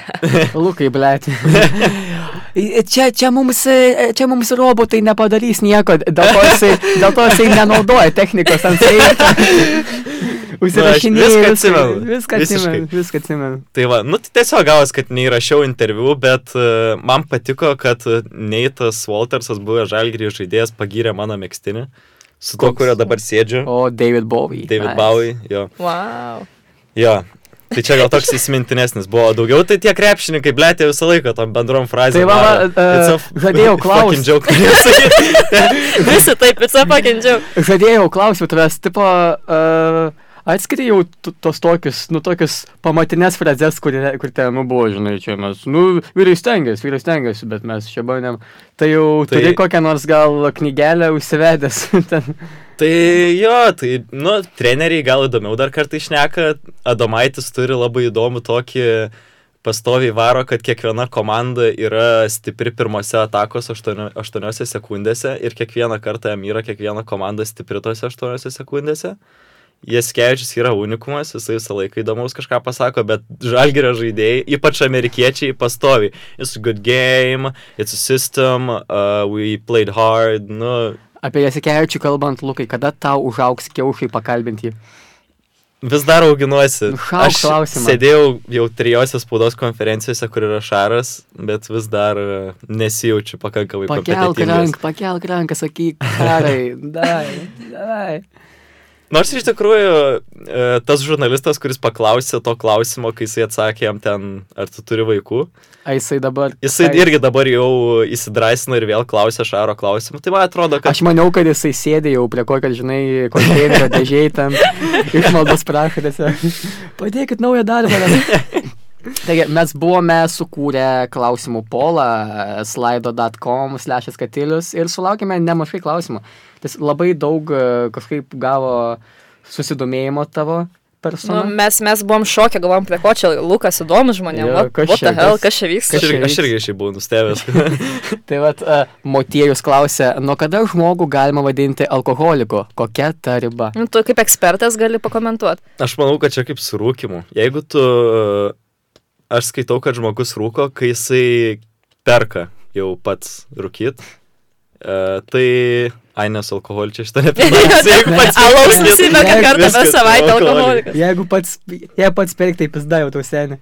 Speaker 1: Lukai, blėt. Čia, čia, mums, e, čia mums robotai nepadarys nieko, dėl to jisai, dėl to jisai nenaudoja technikos ant seifo. Užsirašinėjai.
Speaker 2: Nu, viską
Speaker 1: viską-
Speaker 2: atsimenu,
Speaker 1: Viską atsimenu.
Speaker 2: visiškai.
Speaker 1: Viską atsimenu.
Speaker 2: tai va, nu tai tiesiog gavos, kad neįrašiau interviu, bet e, man patiko, kad e, Neitas Waltersas buvęs žalgrį žaidėjas pagyrė mano mėgstinį, su to,
Speaker 1: Koks?
Speaker 2: kurio dabar sėdžiu,
Speaker 1: O David Bowie.
Speaker 2: David
Speaker 1: Ai.
Speaker 2: Bowie, jo.
Speaker 3: Wow.
Speaker 2: Jo. Tai čia gal toks įsimintinesnis buvo. Daugiau tai tie krepšininkai, ble, tie visą laiką tom bendrom frazėm.
Speaker 1: Tai va, va, e, žadėjau klaust.
Speaker 2: klausti.
Speaker 3: Visi taip, pica pakendžiau.
Speaker 1: Žadėjau, klausiu tavęs, tipo, uh, atskiri jau tu- tos tokius, nu, tokius pamatinės frazes, kur, yra- kur ten, nu, buvo, žinai, čia mes, nu, vyrai stengiasi, vyrai stengiasi, bet mes čia bandėm. Tai jau tai...
Speaker 2: Tai-
Speaker 1: turi kokią nors gal knygelę užsivedęs. ten.
Speaker 2: Tai jo, tai, nu, treneriai gal įdomiau dar kartai išneka. Adomaitis turi labai įdomų tokį pastoviai varo, kad kiekviena komanda yra stipri pirmose atakos 8 sekundėse ir kiekvieną kartą jam yra kiekviena komanda stipri tose 8 sekundėse. Jaskevičius yra unikumas, jisai visą laiką įdomus kažką pasako, bet žalgerio žaidėjai, ypač amerikiečiai, pastovi. It's a good game, it's a system, uh, we played hard, nu,
Speaker 1: Apie Jasikevičių kalbant, Lukai, kada tau užauks kiaušai pakalbinti jį?
Speaker 2: Vis dar auginuosi.
Speaker 1: Šauk Nu, klausimą.
Speaker 2: sėdėjau jau trijose spaudos konferencijose, kur yra Šaras, bet vis dar e, nesijaučiu pakankamai
Speaker 1: Pakelk
Speaker 2: kompetentingas.
Speaker 1: ranką, pakelk ranką, sakyk, karai, dai, dai.
Speaker 2: Nors iš tikrųjų e, tas žurnalistas, kuris paklausė to klausimo, kai jisai atsakė jam ten, ar tu turi vaikų,
Speaker 1: Aisai dabar. tai-
Speaker 2: jisai
Speaker 1: ai-
Speaker 2: irgi dabar jau įsidrasino ir vėl klausė Šaro klausimų. Tai man atrodo, kad
Speaker 1: Aš maniau, kad jisai sėdė jau prie kokio, žinai, konteinerio dėžiai ten išmaldos prašydėse. Padėkit naują darbą. dar. Taigi, mes buvome sukūrę klausimų polą e, slido.com slash skatilius ir sulaukėme nemažai klausimų. Tas labai daug e, kažkaip gavo susidomėjimo tavo
Speaker 3: Nu,
Speaker 1: persona.
Speaker 3: mes, mes buvom šokę, galvom, prie ko čia Lukas įdomus žmonėm.
Speaker 1: Jo,
Speaker 3: Yeah,
Speaker 1: kas
Speaker 3: what what
Speaker 1: čia,
Speaker 3: the hell,
Speaker 1: kas-
Speaker 3: kas čia vyksta?
Speaker 1: kas čia
Speaker 2: aš irgi, aš
Speaker 1: vyks?
Speaker 2: irgi šiaip buvau nustebęs.
Speaker 1: Tai vad, motiejus klausė, nuo kada žmogų galima vadinti alkoholiku? Kokia ta riba?
Speaker 3: Nu, tu kaip ekspertas gali pakomentuoti.
Speaker 2: Aš manau, kad čia kaip su rūkimu. Jeigu tu... e, Aš skaitau, kad žmogus rūko, kai jisai perka jau pats rūkyt. E, tai... Ai, nes alkoholį čia šitą nepirksiu. Jeigu pats
Speaker 3: Alaus
Speaker 2: rūkyt-
Speaker 3: visi mėga
Speaker 1: jeigu
Speaker 3: kartą per
Speaker 2: viskas,
Speaker 3: savaitę
Speaker 2: alkoholikas.
Speaker 3: alkoholikas.
Speaker 1: Jeigu pats, jei pats perk, tai pizda jau tau seniai.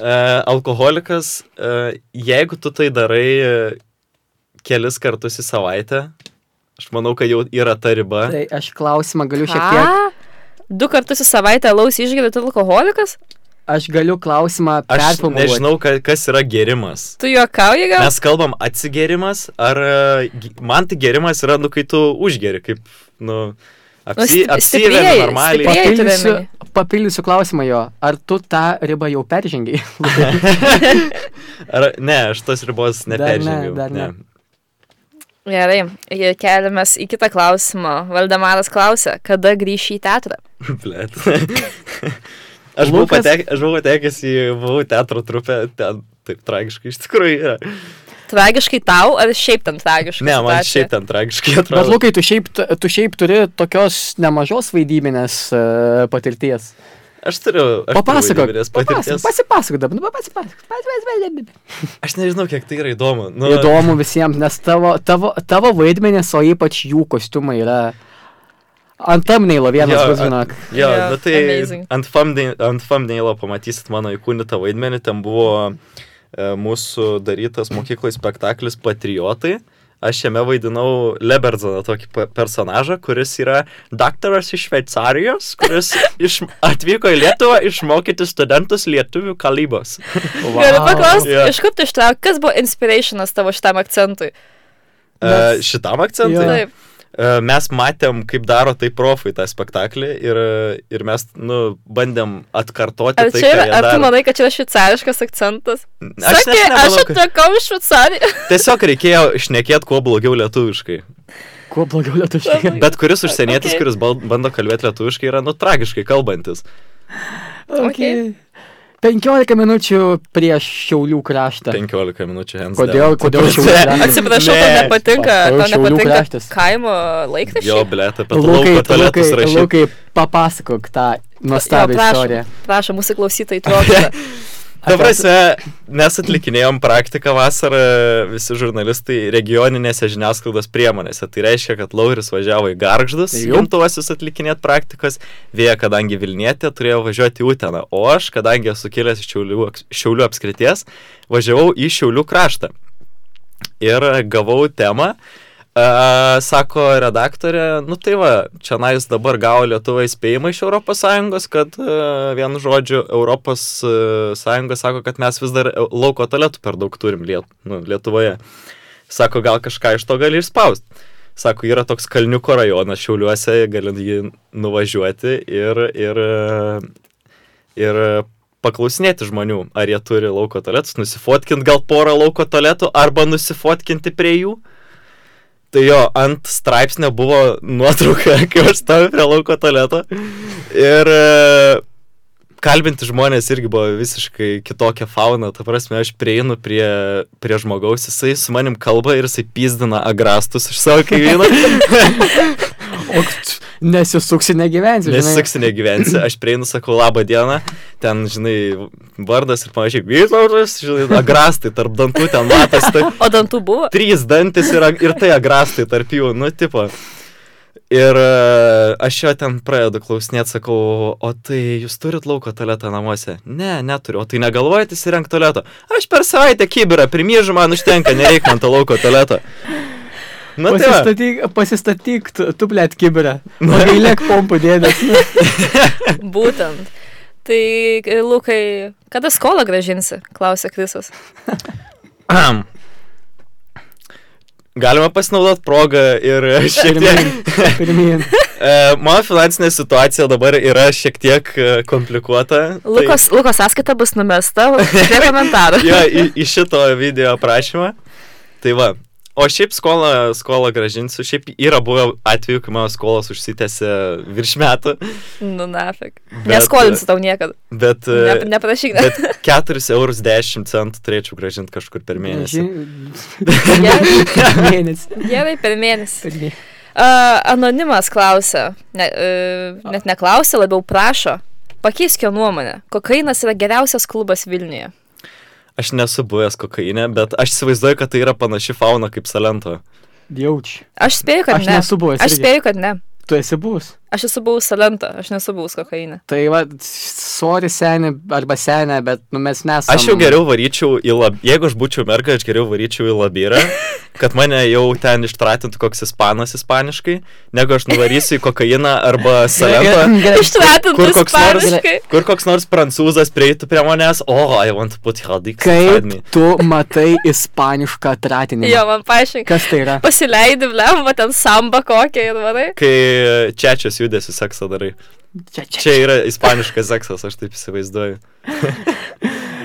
Speaker 2: E, alkoholikas, e, jeigu tu tai darai e, kelis kartus į savaitę, aš manau, kad jau yra ta riba.
Speaker 1: Tai aš klausimą galiu šiek tiek.
Speaker 3: Ką? Du kartus į savaitę alaus išgeri, tu alkoholikas?
Speaker 1: Aš galiu klausimą
Speaker 2: Aš
Speaker 1: performuoti.
Speaker 2: nežinau, ka- kas yra gerimas.
Speaker 3: Tu juokauji gal?
Speaker 2: Mes kalbam atsigerimas, ar e, gi- man tai gerimas yra, nu, kai tu užgeri, kaip, nu, apsi,
Speaker 3: Nu, sti-
Speaker 2: nu apsiveri
Speaker 3: stiprieji,
Speaker 2: normaliai.
Speaker 3: stiprieji. Ėjai tu
Speaker 1: Papildysiu,
Speaker 3: vėmiai.
Speaker 1: papildysiu klausimą jo. Ar tu tą ribą jau peržengiai?
Speaker 2: Ar, ne, aš tos ribos
Speaker 1: ne,
Speaker 2: neperžengiau.
Speaker 1: dar ne.
Speaker 3: Gerai, ir keliamės į kitą klausimą. Valdemaras klausė, kada grįši į teatrą?
Speaker 2: Blet. Aš buvau,
Speaker 1: Lukas-
Speaker 2: patek, aš buvau patekęs į buvau teatro trupę, ten taip tragiškai iš tikrųjų yra.
Speaker 3: Tragiškai tau ar šiaip ten tragiškai?
Speaker 2: Ne, man šiaip ten tragiškai
Speaker 1: Bet
Speaker 2: atrodo.
Speaker 1: Lukai, tu šiaip, tu šiaip turi tokios nemažos vaidybinės uh, patirties.
Speaker 2: Aš turiu... Aš
Speaker 1: Papasakok.
Speaker 2: Turiu įvairias
Speaker 1: Papasakok,
Speaker 2: patirties.
Speaker 1: pasipasakok dabar, nu, papasipasakok. pasipasakok.
Speaker 2: aš nežinau, kiek tai yra įdomu. Nu,
Speaker 1: Įdomu visiems, nes tavo, tavo, tavo vaidmenės, o ypač jų kostiumai yra ant tamneilo vienas
Speaker 2: Jo,
Speaker 1: bus,
Speaker 2: a-
Speaker 1: žinok.
Speaker 2: Jo,
Speaker 3: Jo,
Speaker 2: yeah, bet tai
Speaker 3: amazing.
Speaker 2: ant thumbnail- ant thumbnailo pamatysit mano įkūnytą vaidmenį, ten buvo e, mūsų darytas mokykloje spektaklis Patriotai. Aš jame vaidinau Leberzoną, tokį pe- personažą, kuris yra daktaras iš Šveicarijos, kuris iš, atvyko į Lietuvą išmokyti studentus lietuvių kalybos.
Speaker 3: Galiu paklausti,
Speaker 2: Jo.
Speaker 3: yeah. iš kur tu ištrauk, kas buvo inspirationas tavo šitam akcentui?
Speaker 2: E,
Speaker 1: Nes-
Speaker 2: šitam
Speaker 1: Jo.
Speaker 2: akcentui?
Speaker 3: Taip.
Speaker 2: e, mes matėm, kaip daro tai profai tą spektaklį ir, ir mes, nu, bandėm atkartoti.
Speaker 3: Ar,
Speaker 2: tai,
Speaker 3: čia,
Speaker 2: ką
Speaker 3: yra,
Speaker 2: jie
Speaker 3: ar tu
Speaker 2: daro.
Speaker 3: manai, kad čia yra šveicariškas akcentas?
Speaker 2: Aš net
Speaker 3: Sakė, aš
Speaker 2: nemanau, kad-
Speaker 3: atrakau iš Šveicarijos.
Speaker 2: Tiesiog reikėjo šnekėti kuo blogiau lietuviškai.
Speaker 1: Kuo blogiau lietuviškai.
Speaker 2: Bet kuris
Speaker 3: Okay.
Speaker 2: užsienietis, okay. kuris bal- bando kalbėti lietuviškai, yra nu tragiškai kalbantis.
Speaker 3: Okay.
Speaker 1: 15 minučių prieš Šiaulių kraštą.
Speaker 2: 15 minučių hands.
Speaker 1: Kodėl,
Speaker 2: down.
Speaker 1: kodėl Šiaulių kraštas?
Speaker 3: Atsiprašau, tau
Speaker 2: Ne.
Speaker 3: nepatinka,
Speaker 1: O
Speaker 3: tau
Speaker 1: Šiaulių
Speaker 3: nepatinka
Speaker 1: kraštas?
Speaker 3: kaimo laikraščiai.
Speaker 2: Jo, blėt, apie
Speaker 1: Lukai,
Speaker 2: lauko
Speaker 1: Lukai,
Speaker 2: tualetus rašyti.
Speaker 1: Lukai, papasakok tą nuostabią
Speaker 3: Jo, prašom.
Speaker 1: istoriją.
Speaker 3: Prašom, mūsų klausytojai tuo.
Speaker 2: Ta prasme, mes atlikinėjom praktiką vasarą visi žurnalistai regioninėse žiniasklaidos priemonėse. Tai reiškia, kad Lauris važiavo į Garždus,
Speaker 1: Jau.
Speaker 2: gimtuosius atlikinėti praktikas, vėja, kadangi Vilnietė turėjo važiuoti į Uteną, o aš, kadangi esu kilęs iš Šiaulių, aks- šiaulių apskrities, važiavau į Šiaulių kraštą. Ir gavau temą. A, sako redaktorė, nu tai va, čia nais dabar gavo Lietuva įspėjimą iš ES, kad a, vienu žodžiu ES sako, kad mes vis dar eu- lauko toletų per daug turim liet, nu, Lietuvoje. Sako, gal kažką iš to gali išspausti. Sako, yra toks Kalniuko rajonas Šiauliuose, galint jį nuvažiuoti ir, ir, a, ir paklausinėti žmonių, ar jie turi lauko toletus, nusifotkinti gal porą lauko toletų arba nusifotkinti prie jų. Tai jo, ant straipsnio buvo nuotrauka, kai aš stoviu prie lauko tualeto. Ir e, kalbinti žmonės irgi buvo visiškai kitokia fauna. Ta prasme, aš prieinu prie, prie žmogaus, jisai su manim kalba ir jisai pizdina agrastus iš savo kaimyno.
Speaker 1: O t- nesisuksi, negyvensi. žinai.
Speaker 2: Nesisuksi negyvensi, aš prieinu, sakau, labą dieną, ten, žinai, vardas ir panašiai, vytautas, žinai, agrastai tarp dantų, ten matas, tai
Speaker 3: O dantų buvo?
Speaker 2: trys dantis ir, ag- ir tai agrastai tarp jų, nu, tipo. Ir e, aš jo ten pradedu klausinėti, sakau, o tai jūs turit lauko tualetą namuose? Ne, neturiu, o tai negalvojate įsirengti tualetą? Aš per savaitę kiberą primyžu, man užtenka, nereikia man to lauko tualeto. Na tai, va.
Speaker 1: Pasistatyk, pasistatyk tu, tu plėt kiberą. Gailėk pompų dėdės. nu.
Speaker 3: Būtent. Tai, e, Lukai, kada skolą gražinsi? Klausė Krisas.
Speaker 2: Tai- Ahem. Galima pasinaudoti progą ir e, šiek tiek
Speaker 1: Pirmyn. Pirmyn.
Speaker 2: E, Mano finansinė situacija dabar yra šiek tiek e, komplikuota.
Speaker 3: Lukos, Lukos sąskaita bus numesta. Prie komentarų.
Speaker 2: Tai, jo, į, į šito video aprašymą. Tai va. O šiaip skolą, skolą gražinsiu. Šiaip yra buvę atveju, kai mano skolos užsitęsė virš metų.
Speaker 3: Nu, nafik.
Speaker 2: Bet-
Speaker 3: Neskolinsiu tau niekada.
Speaker 2: Bet,
Speaker 3: Ne,
Speaker 2: e,
Speaker 3: neprašyk. Ne.
Speaker 2: bet 4,10 eurus turėčiau gražinti kažkur per mėnesį.
Speaker 3: Gerai,
Speaker 1: Mėnesį.
Speaker 3: gerai, per mėnesį.
Speaker 1: Pirmyn.
Speaker 3: Uh, anonimas klausia, ne, uh, net neklausia, labiau prašo. Pakeisk jo nuomonę. Kokainas yra geriausias klubas Vilniuje.
Speaker 2: Aš nesu buvęs kokainė, bet aš įsivaizduoju, kad tai yra panaši fauna kaip Salento.
Speaker 1: Jauč.
Speaker 3: Aš spėju, kad
Speaker 1: Aš
Speaker 3: ne.
Speaker 1: nesu buvęs
Speaker 3: Aš
Speaker 1: irgi.
Speaker 3: spėju, kad ne.
Speaker 1: Tu esi buvus.
Speaker 3: Aš esu buvus salentą, aš nesu buvus kokainą.
Speaker 1: Tai va, sorry seniai arba seniai, bet nu, mes nesame.
Speaker 2: Aš jau geriau varyčiau į lab... Jeigu aš būčiau merga, aš geriau varyčiau į labyrą, kad mane jau ten ištratintų koks ispanas ispaniškai, negu aš nuvarysiu į kokainą arba salentą. Kur
Speaker 3: Ištratintas
Speaker 2: koks nors-
Speaker 3: pariškai.
Speaker 2: Kur koks nors prancūzas prieitų prie manęs, o, oh, I want to put halik.
Speaker 1: Kaip tu matai ispanišką tratinį?
Speaker 3: Jo, man paaiškink.
Speaker 1: Kas tai yra?
Speaker 3: Pasileidi, blemba, ten samba kokią ir varai.
Speaker 2: Kai čiačias judesi seksą darai.
Speaker 1: Čia, čia.
Speaker 2: Čia yra ispaniškas seksas, aš taip įsivaizduoju.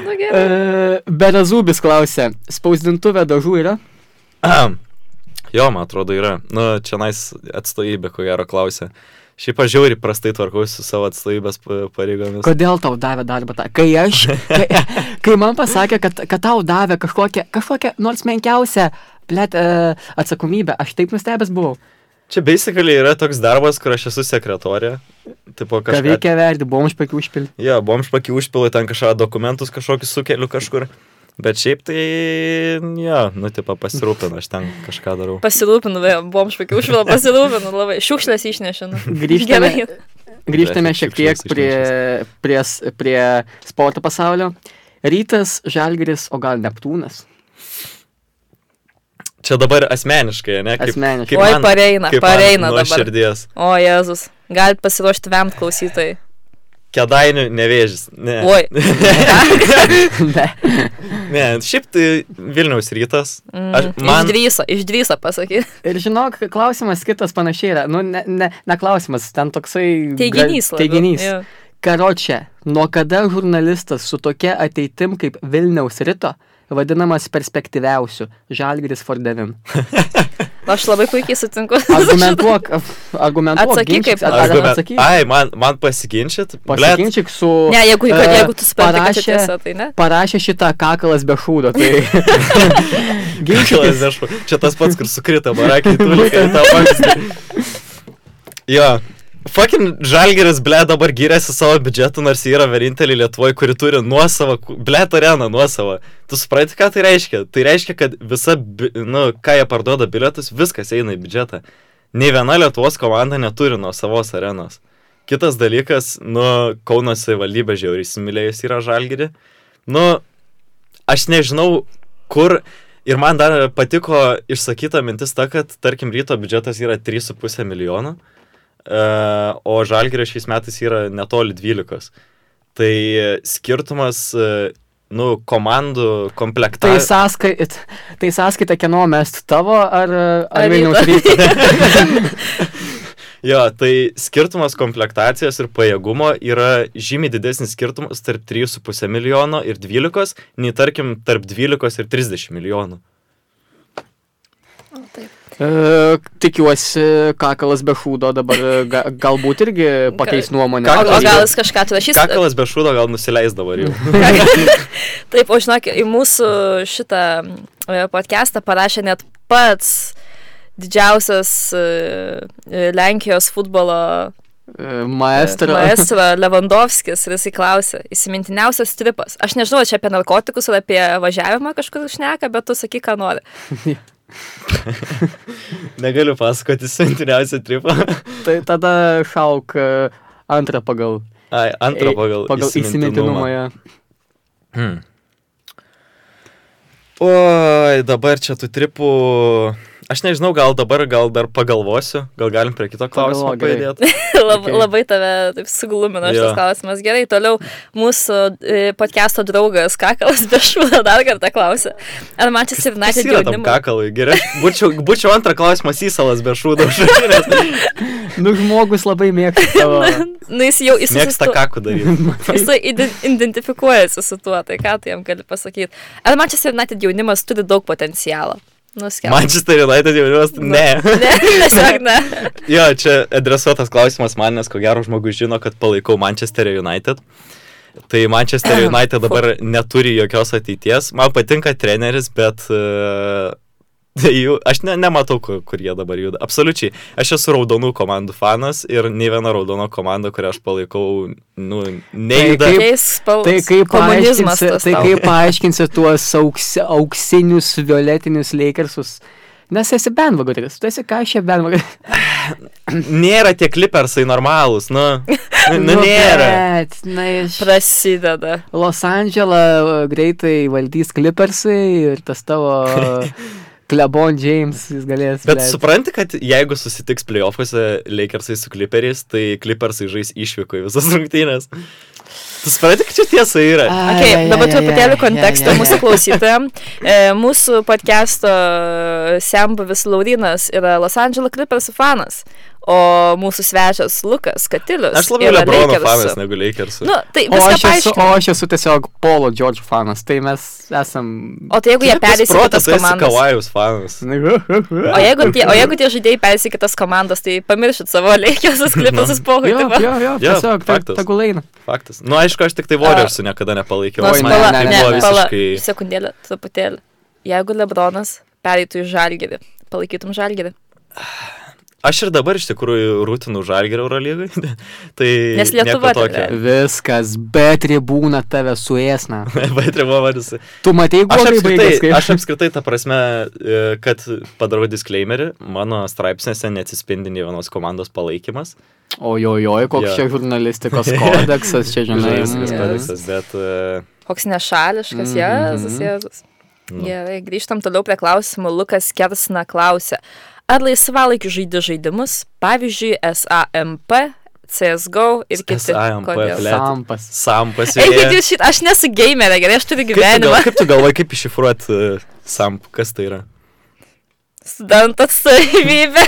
Speaker 3: Nu, gerai.
Speaker 1: E, Berazubis klausė, spausdintuvė dažų yra?
Speaker 2: Ahem. Jo, man atrodo, yra. Nu, čia nais atstovybė, ko gero, klausia. Šiaip aš žiauriai prastai tvarkausi su savo atstovybės pa- pareigomis.
Speaker 1: Kodėl tau davė darbą tą? Kai aš, kai, kai man pasakė, kad, kad tau davė kažkokią, kažkokią nors menkiausią plėt, e, atsakomybę, aš taip nustebęs buvau.
Speaker 2: Čia basically yra toks darbas, kur aš esu sekretorė. Tipo
Speaker 1: Ką
Speaker 2: kažką.
Speaker 1: veikia verdi, buvom išpekių užpilti.
Speaker 2: Jo, bomžpakį užpilu, ten kažką dokumentus kažkokius sukeliu kažkur. Bet šiaip tai, jo, nu, tipo pasirūpinu, aš ten kažką darau.
Speaker 3: Pasirūpinu, vėl, buvom švakių užvilą, pasirūpinu labai. Šiukšlės išnešinu.
Speaker 1: Grįžtame,
Speaker 3: Gerai.
Speaker 1: grįžtame
Speaker 2: Grafik
Speaker 1: šiek tiek
Speaker 2: šiukšlės
Speaker 1: prie, prie, s- prie sporto pasaulio. Rytas, Žalgris, o gal Neptūnas?
Speaker 2: Čia dabar asmeniškai, ne? Kaip,
Speaker 1: Asmeniškai.
Speaker 2: kaip
Speaker 3: Oi,
Speaker 2: man-
Speaker 3: pareina,
Speaker 2: kaip man
Speaker 3: pareina
Speaker 2: nuo
Speaker 3: dabar.
Speaker 2: širdies.
Speaker 3: O Jėzus, galit pasiruošti vemt klausytojai.
Speaker 2: Kedainių nevėžys. Ne.
Speaker 3: Oi.
Speaker 1: Ne.
Speaker 2: ne, šiaip tai Vilniaus rytas.
Speaker 3: Mm.
Speaker 2: Aš, man,
Speaker 3: Išdvyso, išdvyso pasakyti.
Speaker 1: Ir žinok, klausimas kitas panašiai yra. Nu, ne, ne, ne klausimas, ten toksai. gal-
Speaker 3: Teiginys. labiau,
Speaker 1: Teiginys.
Speaker 3: jo.
Speaker 1: Karočią, nuo kada žurnalistas su tokia ateitim kaip Vilniaus ryto vadinamas perspektyviausiu Žalgris Fordevim?
Speaker 3: Aš labai puikiai sutinku.
Speaker 1: Argumentuok, argumentuok.
Speaker 3: Atsakyk
Speaker 1: ginčyk,
Speaker 3: kaip-
Speaker 1: ar-
Speaker 2: aš
Speaker 1: ar
Speaker 2: gavau.
Speaker 1: atsakyk.
Speaker 2: Ai, man, man pasiginčyt. Blet,
Speaker 1: Pasiginčyk su...
Speaker 3: Ne, jeigu, kad,
Speaker 1: e,
Speaker 3: jeigu tu supranti, kad čia
Speaker 1: parašė-
Speaker 3: tiesa, tai ne.
Speaker 1: Parašė šitą kakalas be šūdo, tai... Ginčykis.
Speaker 2: Kilas, aišku, čia tas pats, kur sukrito barakiai, tu likai tą pavyzdį. Jo. Fucking Žalgeris, ble, dabar giriasi savo biudžetu, nors jie yra vienintelė Lietuvoje, kuri turi nuosavą, ku- ble, areną nuosavą. Tu supranti, ką tai reiškia? Tai reiškia, kad visa, bi- nu, ką jie parduoda bilietus, viskas eina į biudžetą. Nei viena Lietuvos komanda neturi nuo savos arenos. Kitas dalykas, nu, Kauno savivaldybė žiauriai įsimylėjus yra Žalgerį. Nu, aš nežinau, kur. Ir man dar patiko išsakyta mintis ta, kad, tarkim, ryto biudžetas yra 3,5 milijono, e, o žalgerio šiais metais yra netoli 12. Tai skirtumas, e, nu, komandų
Speaker 1: Tai,
Speaker 2: komplektavimas.
Speaker 1: sąskait, tai sąskaita, kieno mest tavo ar, ar
Speaker 3: Ar
Speaker 1: Vilniaus
Speaker 3: ryto?
Speaker 1: ryto?
Speaker 2: Jo, tai skirtumas komplektacijos ir pajėgumo yra žymiai didesnis skirtumas tarp 3,5 milijono ir 12, nei tarkim tarp 12 ir 30 milijonų.
Speaker 1: E, tikiuosi, kakalas be šūdo dabar e, ga, galbūt irgi pakeis nuomonę.
Speaker 3: O, o
Speaker 2: Kakalas
Speaker 3: gal
Speaker 2: be-
Speaker 3: jis kažką atrašys?
Speaker 2: Kakalas be šūdo gal nusileisdavo jau.
Speaker 3: Taip, o žinok, į mūsų šitą e, podcastą parašė net pats didžiausias e, e, Lenkijos futbolo
Speaker 1: E,
Speaker 3: э,
Speaker 1: Maestro.
Speaker 3: Maestro Lewandowskis ir jisai klausė, įsimintiniausias tripas. Aš nežinau, čia apie narkotikus ar apie važiavimą kažkur šneka, bet tu sakyk, ką nori.
Speaker 2: Negaliu pasakoti sentiniausią tripą.
Speaker 1: Tai tada šauk e, antrą pagal, e,
Speaker 2: Ai, antrą pagal,
Speaker 1: pagal įsimintinumą. jo.
Speaker 2: Hmm. Oi, dabar čia tų tripų. Aš nežinau, gal dabar gal dar pagalvosiu, gal galim prie kito klausimo
Speaker 1: Pagalvok, gerai.
Speaker 2: pajudėti.
Speaker 3: Lab,
Speaker 1: Okay.
Speaker 3: okay. Labai tave taip suglumino šitas
Speaker 2: Jo.
Speaker 3: klausimas. Gerai, toliau mūsų e, podcast'o draugas Kakalas Bešūda dar kartą klausė. Ar Manchester
Speaker 2: Kas
Speaker 3: United
Speaker 2: yra tam
Speaker 3: jaunimas?
Speaker 2: kakalui? Gerai, būčiau, būčiau antrą klausimą įsalas be šūdo žaidėjas.
Speaker 1: Nu, žmogus labai mėgsta savo.
Speaker 3: Na, Nu, jis jau
Speaker 2: Mėgsta
Speaker 3: įsivaizduoja.
Speaker 2: kakų daryti.
Speaker 3: Jis ide- identifikuojasi su tuo, tai ką tu jam gali pasakyti. Ar Manchester United jaunimas turi daug potencialo? Nuskelbė.
Speaker 2: Manchester United jaunimas, ne.
Speaker 3: Ne, tiesiog ne.
Speaker 2: Jo, čia adresuotas klausimas man, nes ko gero žmogus žino, kad palaikau Manchester United. Tai Manchester United dabar neturi jokios ateities. Man patinka treneris, bet uh, jų, aš ne, nematau, kur, kur jie dabar juda. Absoliučiai. Aš esu raudonų komandų fanas ir nei viena raudono komanda, kurią aš palaikau, nu, nejuda.
Speaker 1: Taip,
Speaker 3: Keis spalvos.
Speaker 1: Tai kaip
Speaker 3: komunizmas.
Speaker 1: paaiškinsi,
Speaker 3: tas
Speaker 1: tai
Speaker 3: tau.
Speaker 1: kaip paaiškinsi tuos auks, auksinius violetinius leikersus? Nes esi benvagotis, tu esi ką šia benvagotis.
Speaker 2: Nėra tie klipersai normalūs, nu, nu, nu nėra.
Speaker 1: Bet, na, iš...
Speaker 3: Prasideda.
Speaker 1: Los Andželą e, greitai valdys Clippersai ir tas tavo Klebon James jis galės.
Speaker 2: Bet
Speaker 1: blet.
Speaker 2: supranti, kad jeigu susitiks playoffuose Lakersai su Clipperiais, tai Clippersai žais išvyko į visas rungtynės. Tu supranti, kad čia tiesa yra.
Speaker 1: Ai,
Speaker 3: Okay,
Speaker 1: ai,
Speaker 3: dabar
Speaker 1: ai,
Speaker 3: truputėlį
Speaker 1: ai,
Speaker 3: konteksto
Speaker 1: ai, ai,
Speaker 3: mūsų
Speaker 1: ai.
Speaker 3: klausytojams. Mūsų podcast'o e, Sembuvis Laurinas yra Los Angeles Clippers fanas, o mūsų svečias Lukas Katilius.
Speaker 2: Aš labiau
Speaker 3: yra
Speaker 2: Lebrono
Speaker 3: Lakersų.
Speaker 2: fanas negu Lakersų.
Speaker 3: Nu, tai
Speaker 1: O aš,
Speaker 3: viską
Speaker 1: esu, o
Speaker 3: paaiškinu.
Speaker 1: aš esu tiesiog Polo George fanas, tai mes esam.
Speaker 3: O tai jeigu jie perės į kitas
Speaker 2: protas, esi
Speaker 3: komandas.
Speaker 2: Kavajus fanas.
Speaker 3: O jeigu, tie, o jeigu tie žaidėjai perės į kitas komandas, tai pamiršit savo Lakersas Clippersas
Speaker 1: Jo,
Speaker 3: pokalbį.
Speaker 1: jo, jo, tiesiog, te-
Speaker 2: faktas.
Speaker 1: tegul eina.
Speaker 2: Faktas. Na, nu, aišku, aš tik tai Warriorsų niekada nepalaikiau.
Speaker 1: Nors
Speaker 2: Man-
Speaker 1: pala-
Speaker 2: man
Speaker 1: ne,
Speaker 2: buvo
Speaker 1: ne,
Speaker 2: visiškai...
Speaker 3: Sekundėlę, truputėlį. Jeigu Lebronas pereitų į žalgerį, palaikytum žalgerį.
Speaker 2: Aš ir dabar iš tikrųjų rūtinu žalgerio Eurolygai. tai
Speaker 3: Nes Lietuva
Speaker 2: nieko tokio.
Speaker 1: Viskas, bet ribūna tave suėsna.
Speaker 2: Baitrimo vadinasi.
Speaker 1: Tu matei,
Speaker 2: Aš
Speaker 1: kuo tai baigėsi.
Speaker 2: apskritai,
Speaker 1: kaip-
Speaker 2: aš apskritai, ta prasme, e, kad padarau disclaimerį, mano straipsnėse neatsispindi nei vienos komandos palaikymas.
Speaker 1: Ojojoj, koks
Speaker 2: Jo.
Speaker 1: čia žurnalistikos kodeksas, čia žinai.
Speaker 2: Žurnalistinis
Speaker 3: mm.
Speaker 2: kodeksas, bet... e,
Speaker 3: Koks nešališkas,
Speaker 1: Mhm.
Speaker 3: Jėzus, Jėzus.
Speaker 2: Nu.
Speaker 3: Gerai, grįžtam toliau prie klausimų. Lukas Kersna klausė, ar laisvalaikiu žaidži žaidimus, pavyzdžiui, SAMP, CSGO ir kiti.
Speaker 2: SAMP,
Speaker 3: Kodėl?
Speaker 2: ble.
Speaker 1: Sampas.
Speaker 2: Sampas.
Speaker 3: Eikit jūs šitą, aš nesu gamerė, gerai, aš turiu
Speaker 2: Kaip tu,
Speaker 3: gyvenimą.
Speaker 2: gal, kaip tu galvoji, kaip iššifruoti uh, samp, kas tai yra?
Speaker 3: Studentų atstovybė,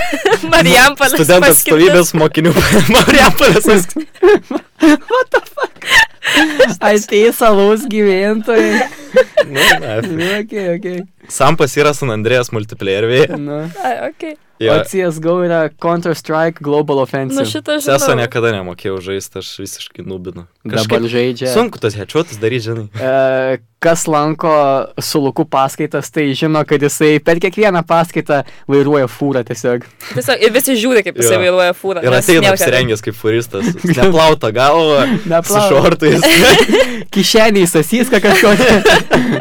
Speaker 3: Marijampolės.
Speaker 2: Studentų
Speaker 3: paskirtis.
Speaker 2: Nu, atstovybės mokinių. Marijampolės.
Speaker 1: Ateis salos gyventojai.
Speaker 2: Nu, na,
Speaker 1: Nu, okay, okay.
Speaker 2: Sampas yra San Andrėjas multiplayer.
Speaker 1: Nu.
Speaker 3: Ai,
Speaker 1: Ja.
Speaker 3: okay.
Speaker 2: Ja.
Speaker 1: O CSGO yra Counter-Strike Global Offensive.
Speaker 3: Nu šitą
Speaker 2: Seso
Speaker 3: žinau.
Speaker 2: niekada nemokėjau žaisti, aš visiškai nubinu.
Speaker 1: Dabar žaidžia.
Speaker 2: sunku tas hečiuotas daryti, žinai.
Speaker 1: E, kas lanko su Luku paskaitas, tai žino, kad jisai per kiekvieną paskaitą vairuoja fūrą tiesiog.
Speaker 3: Tiesiog, ir visi žiūri, kaip jisai
Speaker 2: Jo.
Speaker 3: vairuoja fūrą.
Speaker 2: Ir
Speaker 3: nes
Speaker 2: ateina
Speaker 3: nieko-
Speaker 2: apsirengęs kaip furistas. Neplauta galva. Su
Speaker 1: Neplauk.
Speaker 2: šortais.
Speaker 1: Kišeniai sasyską kažkokią.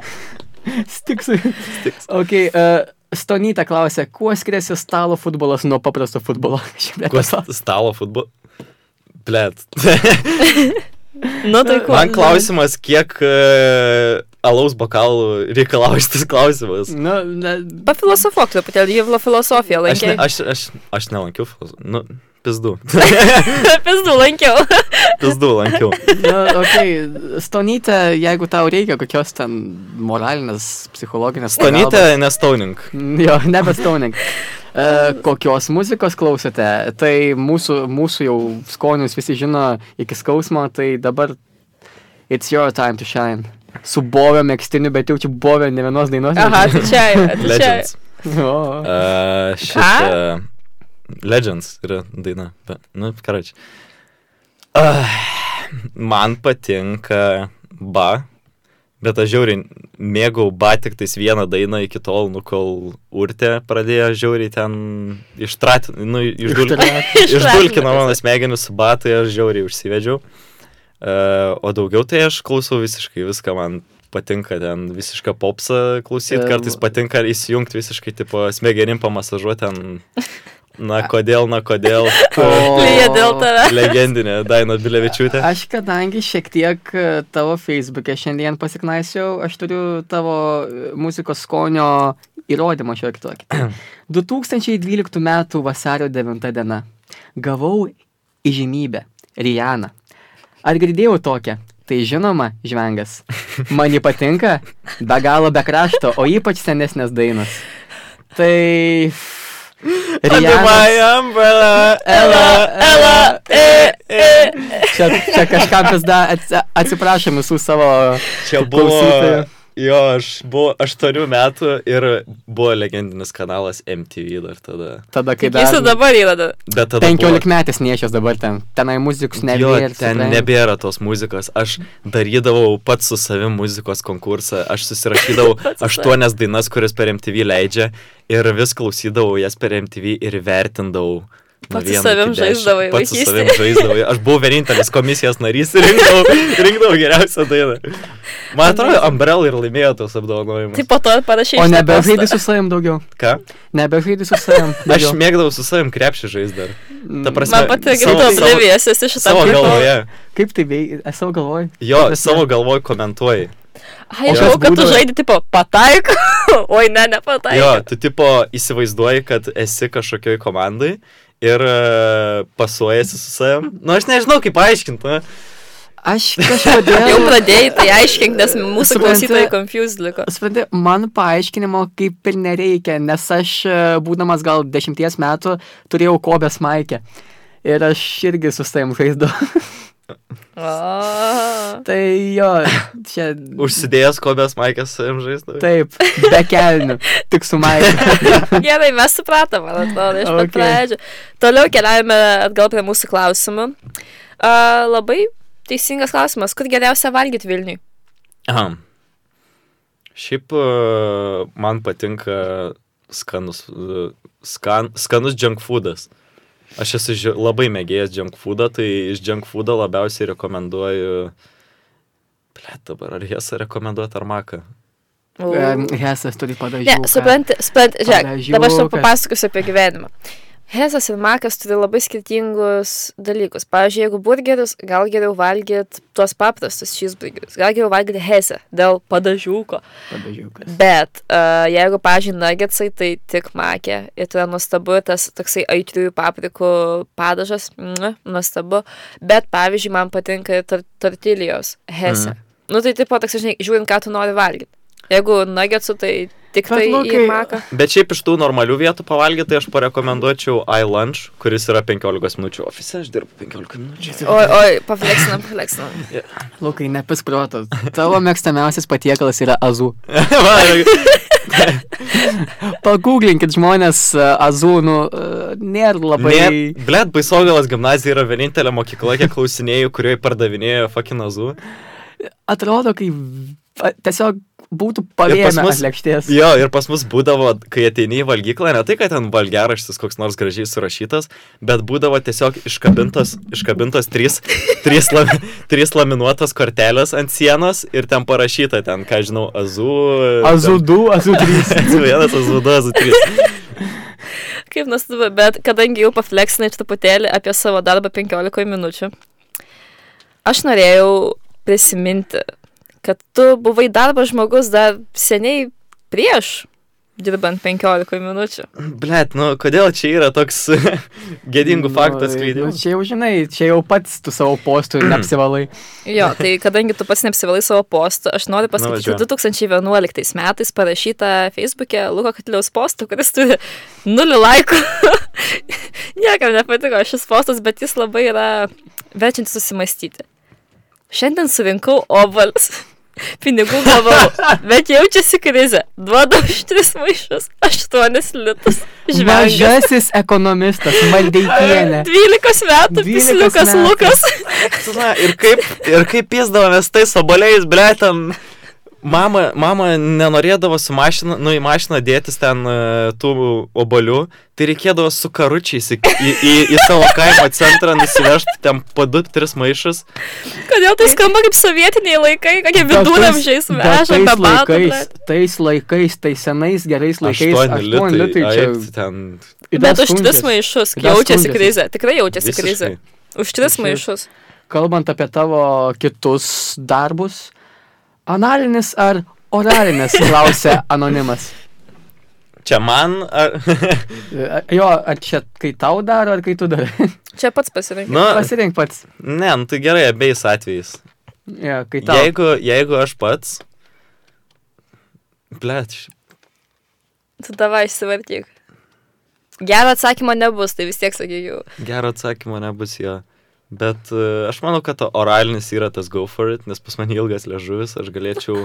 Speaker 1: Stiksui.
Speaker 2: Stiks.
Speaker 1: Ok, uh, Stonyta klausė, kuo skiriasi stalo futbolas nuo paprasto futbolo? Šiaip ne,
Speaker 2: Kuo st- stalo futbolo? Blet.
Speaker 3: Nu, tai kuo?
Speaker 2: Man klausimas, kiek e, alaus bokalų reikalauja šitas klausimas.
Speaker 1: Nu, ne,
Speaker 3: Pafilosofuok truputėlį, jį filosofiją
Speaker 2: Aš, ne,
Speaker 3: lankiau.
Speaker 2: aš, aš, aš nelankiau filosofijos. Nu, pizdu.
Speaker 3: Pizdu lankiau.
Speaker 2: Pizdu lankiau.
Speaker 1: nu, ok, Stonyta, jeigu tau reikia kokios ten moralinės, psichologinės.
Speaker 2: Stonytė,
Speaker 1: pagalbos-
Speaker 2: nestoning.
Speaker 1: Jo, nebe Stoning. E, kokios muzikos klausote? Tai mūsų, mūsų jau skonius visi žino iki skausmo, tai dabar it's your time to shine. Su bovio mėgstiniu, bet jaučiu bovio ne vienos dainos.
Speaker 3: Aha, tai čia, tai čia.
Speaker 2: Legends.
Speaker 1: O,
Speaker 2: Uh, šitą. Legends yra daina. Bet, nu, karoči. Uh, man patinka ba, bet aš žiauriai mėgau ba tik tais vieną dainą iki tol, nu kol urtė pradėjo žiauriai ten ištratinti, nu, išdul... išdulkino mano smegenis su ba, tai aš žiauriai užsivedžiau. Uh, o daugiau tai aš klausau visiškai viską, man patinka ten visišką popsą klausyti,
Speaker 1: Em.
Speaker 2: kartais patinka įsijungti visiškai, tipo, smegenim pamasažuoti ten, na kodėl, na kodėl,
Speaker 3: Lyja dėl tave.
Speaker 2: legendinė Daina Bilevičiūtė.
Speaker 1: Aš kadangi šiek tiek e, tavo Facebook'e šiandien pasiknaisiau, aš turiu tavo e, muzikos skonio įrodymą šiek tiek. 2012 m. vasario 9 d. Gavau įžymybę Rijaną. Ar girdėjau tokią? Tai žinoma, žvengas. Man ji patinka, be galo be krašto, o ypač senesnės dainos. Tai...
Speaker 2: Under my
Speaker 1: Rijanas-
Speaker 2: umbrella,
Speaker 1: Ela, ela, e,
Speaker 2: e.
Speaker 1: Čia, čia kažkam vis dar atsiprašom visų savo...
Speaker 2: Čia buvo.
Speaker 1: Klausytoja.
Speaker 2: Jo, aš buvau 8 metų ir buvo legendinis kanalas MTV dar tada.
Speaker 1: Tada, kai
Speaker 3: Kaip
Speaker 1: dar...
Speaker 3: jis dabar yra. da-
Speaker 2: Bet tada... buvo-
Speaker 1: 15 metės niešios dabar ten. Tenai muzikos nebėra.
Speaker 2: Jo, ten
Speaker 1: supranti.
Speaker 2: nebėra tos muzikos. Aš darydavau pats su savimi muzikos konkursą. Aš susirašydavau aštuonias dainas, kurias per MTV leidžia ir vis klausydavau jas per MTV ir vertindavau. nuo
Speaker 3: Pats su savim
Speaker 2: vieno iki dešimt.
Speaker 3: žaisdavai
Speaker 2: Pats su
Speaker 3: vaikystėj.
Speaker 2: savim žaisdavau. Aš buvau vienintelis komisijos narys ir rinkdavau, rinkdavau geriausią dainą. Man atrodo, Umbrella ir laimėjo tos apdovanojimus.
Speaker 3: Tai po to parašiau.
Speaker 1: O nebežaidai su savim daugiau.
Speaker 2: Ką?
Speaker 1: Nebežaidai su savim.
Speaker 2: Aš
Speaker 1: daugiau. Mm.
Speaker 2: mėgdavau su savim krepšį žaisti dar. Ta prasme,
Speaker 3: Man patinka,
Speaker 2: savo-
Speaker 3: kad tu
Speaker 2: savo-
Speaker 3: oblivijas esi šitą
Speaker 2: Savo galvoje.
Speaker 1: Kaip tai veikia? Esu galvoj.
Speaker 2: Jo, savo galvoje komentuoji.
Speaker 3: Ai,
Speaker 2: O
Speaker 3: žinau,
Speaker 1: kas
Speaker 3: kad tu
Speaker 1: būdavo?
Speaker 3: žaidži tipo pataiko. Oi, ne,
Speaker 2: Jo,
Speaker 3: nepataiko.
Speaker 2: tu tipo įsivaizduoji, kad esi kažkokioj komandai ir e, pasuojasi su savim. Na, nu, aš nežinau, kaip paaiškinti. Na.
Speaker 1: Aš
Speaker 3: Jau
Speaker 1: kažkodėl...
Speaker 3: pradėjai, tai aiškink, nes mūsų
Speaker 1: Supranti.
Speaker 3: klausytojai confused liko.
Speaker 1: Supranti, man paaiškinimo kaip ir nereikia, nes aš, e, būdamas gal dešimties metų, turėjau kobės maikę. Ir aš irgi su savim žaidžiu.
Speaker 3: O.
Speaker 1: tai jo, čia...
Speaker 2: Užsidėjęs kobės maikės su savim žaisti.
Speaker 1: Taip, be kelnių, tik su maike.
Speaker 3: Gerai, mes supratom, man atrodo, iš pat
Speaker 1: Okay.
Speaker 3: pradžių. Toliau keliaujame atgal prie mūsų klausimų. A, Labai teisingas klausimas, kur geriausia valgyti Vilniui?
Speaker 2: Aha. Šiaip e, man patinka skanus, e, skan, skanus junk foodas. Aš esu ži- labai mėgėjęs junk foodą, tai iš junk foodą labiausiai rekomenduoju... Plėt dabar, ar jas rekomenduoti ar maką?
Speaker 3: O.
Speaker 1: Hesas turi padaryti.
Speaker 3: Ne, supranti, supranti, žiūrėk, dabar aš tau
Speaker 1: Padažiukas.
Speaker 3: papasakosiu apie gyvenimą. Hesas ir makas turi labai skirtingus dalykus. Pavyzdžiui, jeigu burgerius, gal geriau valgyti tuos paprastus cheeseburgerius, gal geriau valgyti hesę dėl padažiuko.
Speaker 1: Padažiukas.
Speaker 3: Bet uh, jeigu, pavyzdžiui, nuggetsai, tai tik makė. Ir tai yra nuostabu, tas toksai aitriųjų paprikų padažas, mm, nuostabu. Bet, pavyzdžiui, man patinka ir tor tortilijos hesė. Mm. Nu tai tipo, toks, žinai, žiūrint, ką tu nori valgyti. Jeigu nuggetsų, tai tik
Speaker 1: Bet,
Speaker 3: tai
Speaker 1: Lukai,
Speaker 3: į maką.
Speaker 2: Bet šiaip iš tų normalių vietų pavalgyti, tai aš parekomenduočiau iLunch, kuris yra 15 minučių. Ofise aš dirbu 15 minučių.
Speaker 3: Oi, oi, pafleksinam, pafleksinam.
Speaker 1: Lukai, nepisprotas. Tavo mėgstamiausias patiekalas yra azų.
Speaker 2: Va, Tai
Speaker 1: Pagūglinkit žmonės e, azų, nu, e, nėra labai...
Speaker 2: Nė, blėt, Baisogalas gimnazija yra vienintelė mokykla, kiek klausinėjau, kurioje pardavinėjo fakinazų.
Speaker 1: Atrodo, kai v- a- tiesiog būtų
Speaker 2: Ir pas
Speaker 1: pavėmę
Speaker 2: mus-
Speaker 1: mus... lėkštės.
Speaker 2: Jo, ir pas mus būdavo, kai ateini į valgyklą, ne tai, kad ten valgeraštis koks nors gražiai surašytas, bet būdavo tiesiog iškabintos, iškabintos trys, trys, lami, trys laminuotos kortelės ant sienos ir ten parašyta ten, ką žinau, azų.
Speaker 1: Azų 2, azų 3.
Speaker 2: Azų vienas, azų du, azų trys.
Speaker 3: Kaip nustabu, bet kadangi jau pafleksinai truputėlį apie savo darbą 15 minučių, aš norėjau prisiminti, kad tu buvai darbo žmogus dar seniai prieš dirbant 15 minučių.
Speaker 2: Blet, nu kodėl čia yra toks
Speaker 1: Nu,
Speaker 2: gėdingų faktų atskleidimas?
Speaker 1: Čia jau žinai, čia jau pats tu savo postų neapsivalai.
Speaker 3: Jo, tai kadangi tu pats neapsivalai savo postų, aš noriu pasakyti,
Speaker 2: Nuvažiuojam.
Speaker 3: 2011 metais parašyta Facebook'e Luko Katiliaus postų, kuris turi nulį laikų. Niekam nepatiko šis postas, bet jis labai yra verčiantis susimastyti. Šiandien surinkau ovalus. Pinigų gavau, bet jaučiasi krizė. Duodu už tris maišus, aštuonis litus. Žvelgiu.
Speaker 1: Mažasis ekonomistas, maldeikienė.
Speaker 3: 12 metų,
Speaker 1: 12
Speaker 3: pisliukas
Speaker 1: metų.
Speaker 3: Lukas.
Speaker 2: Na, ir kaip, ir kaip pėsdavomės tais oboliais, blet, ten. Mama, mama nenorėdavo su mašina, nu į mašiną dėtis ten e, tų obolių, tai reikėdavo su karučiais į, į, į, į savo kaimo centrą nusivežti ten po 2-3 maišus.
Speaker 3: Kodėl tai skamba kaip sovietiniai laikai, kokie
Speaker 1: Bet tais-
Speaker 3: viduramžiais
Speaker 1: bet
Speaker 3: veža be
Speaker 1: tais
Speaker 3: batų.
Speaker 1: laikais,
Speaker 3: blet.
Speaker 1: tais laikais, tais senais gerais laikais.
Speaker 2: Aštuoni
Speaker 1: aštuoni litai čia.
Speaker 2: ai, ten.
Speaker 1: ir dar
Speaker 3: Bet už tris
Speaker 1: skundžiasi.
Speaker 3: maišus
Speaker 1: Ir dar
Speaker 3: jaučiasi
Speaker 1: skundžiasi.
Speaker 3: krizė, tikrai jaučiasi krizė.
Speaker 2: Visiškai.
Speaker 3: Už tris
Speaker 1: Čia-
Speaker 3: maišus.
Speaker 1: Kalbant apie tavo kitus darbus, analinis ar oralinis, klausė anonimas.
Speaker 2: Čia man, ar,
Speaker 1: E, Jo, ar čia kai tau daro, ar kai tu darai?
Speaker 3: Čia pats pasirinkai.
Speaker 2: nu,
Speaker 1: Pasirink pats.
Speaker 2: ne, nu, tai gerai abiejais atvejais.
Speaker 1: Jo, kai tau.
Speaker 2: Jeigu, jeigu aš pats. Blet, š-
Speaker 3: Tu davai išsivartyk. Gerą atsakymą nebus, tai vis tiek sakyčiau.
Speaker 2: gero atsakymo nebus jo. Bet e, aš manau, kad to oralinis yra tas go for it, nes pas mane ilgas liežuvis, aš galėčiau...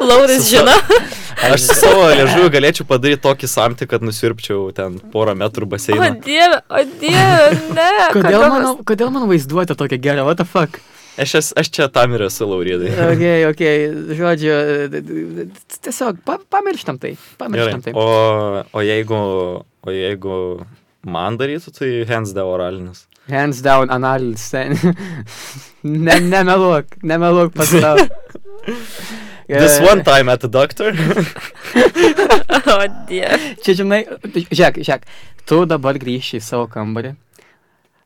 Speaker 3: Lauris
Speaker 2: Su-
Speaker 3: žino.
Speaker 2: Aš su savo liežuviu galėčiau padaryti tokį samtį, kad nusirpčiau ten porą metrų
Speaker 3: O
Speaker 2: baseiną.
Speaker 3: dieve, o dieve, ne.
Speaker 1: Kodėl
Speaker 3: mes-
Speaker 1: mano, kodėl mano vaizduotė tokia gera, what the fuck?
Speaker 2: Aš, es, aš čia tam ir esu, Laurydai.
Speaker 1: Ok, ok, žodžiu, e, d- d- d- tiesiog pa, pamirštam tai,
Speaker 2: Gerai.
Speaker 1: pamirštam tai.
Speaker 2: O, o, jeigu, o jeigu man darytų, tai hands down oralinis.
Speaker 1: Hands down, analinis. ten. ne, nemeluok, nemeluok pas tau.
Speaker 2: This one time at the doctor.
Speaker 3: O dieve.
Speaker 1: Čia, žinai, tai žiūrėk, žiūrėk, tu dabar grįši į savo kambarį,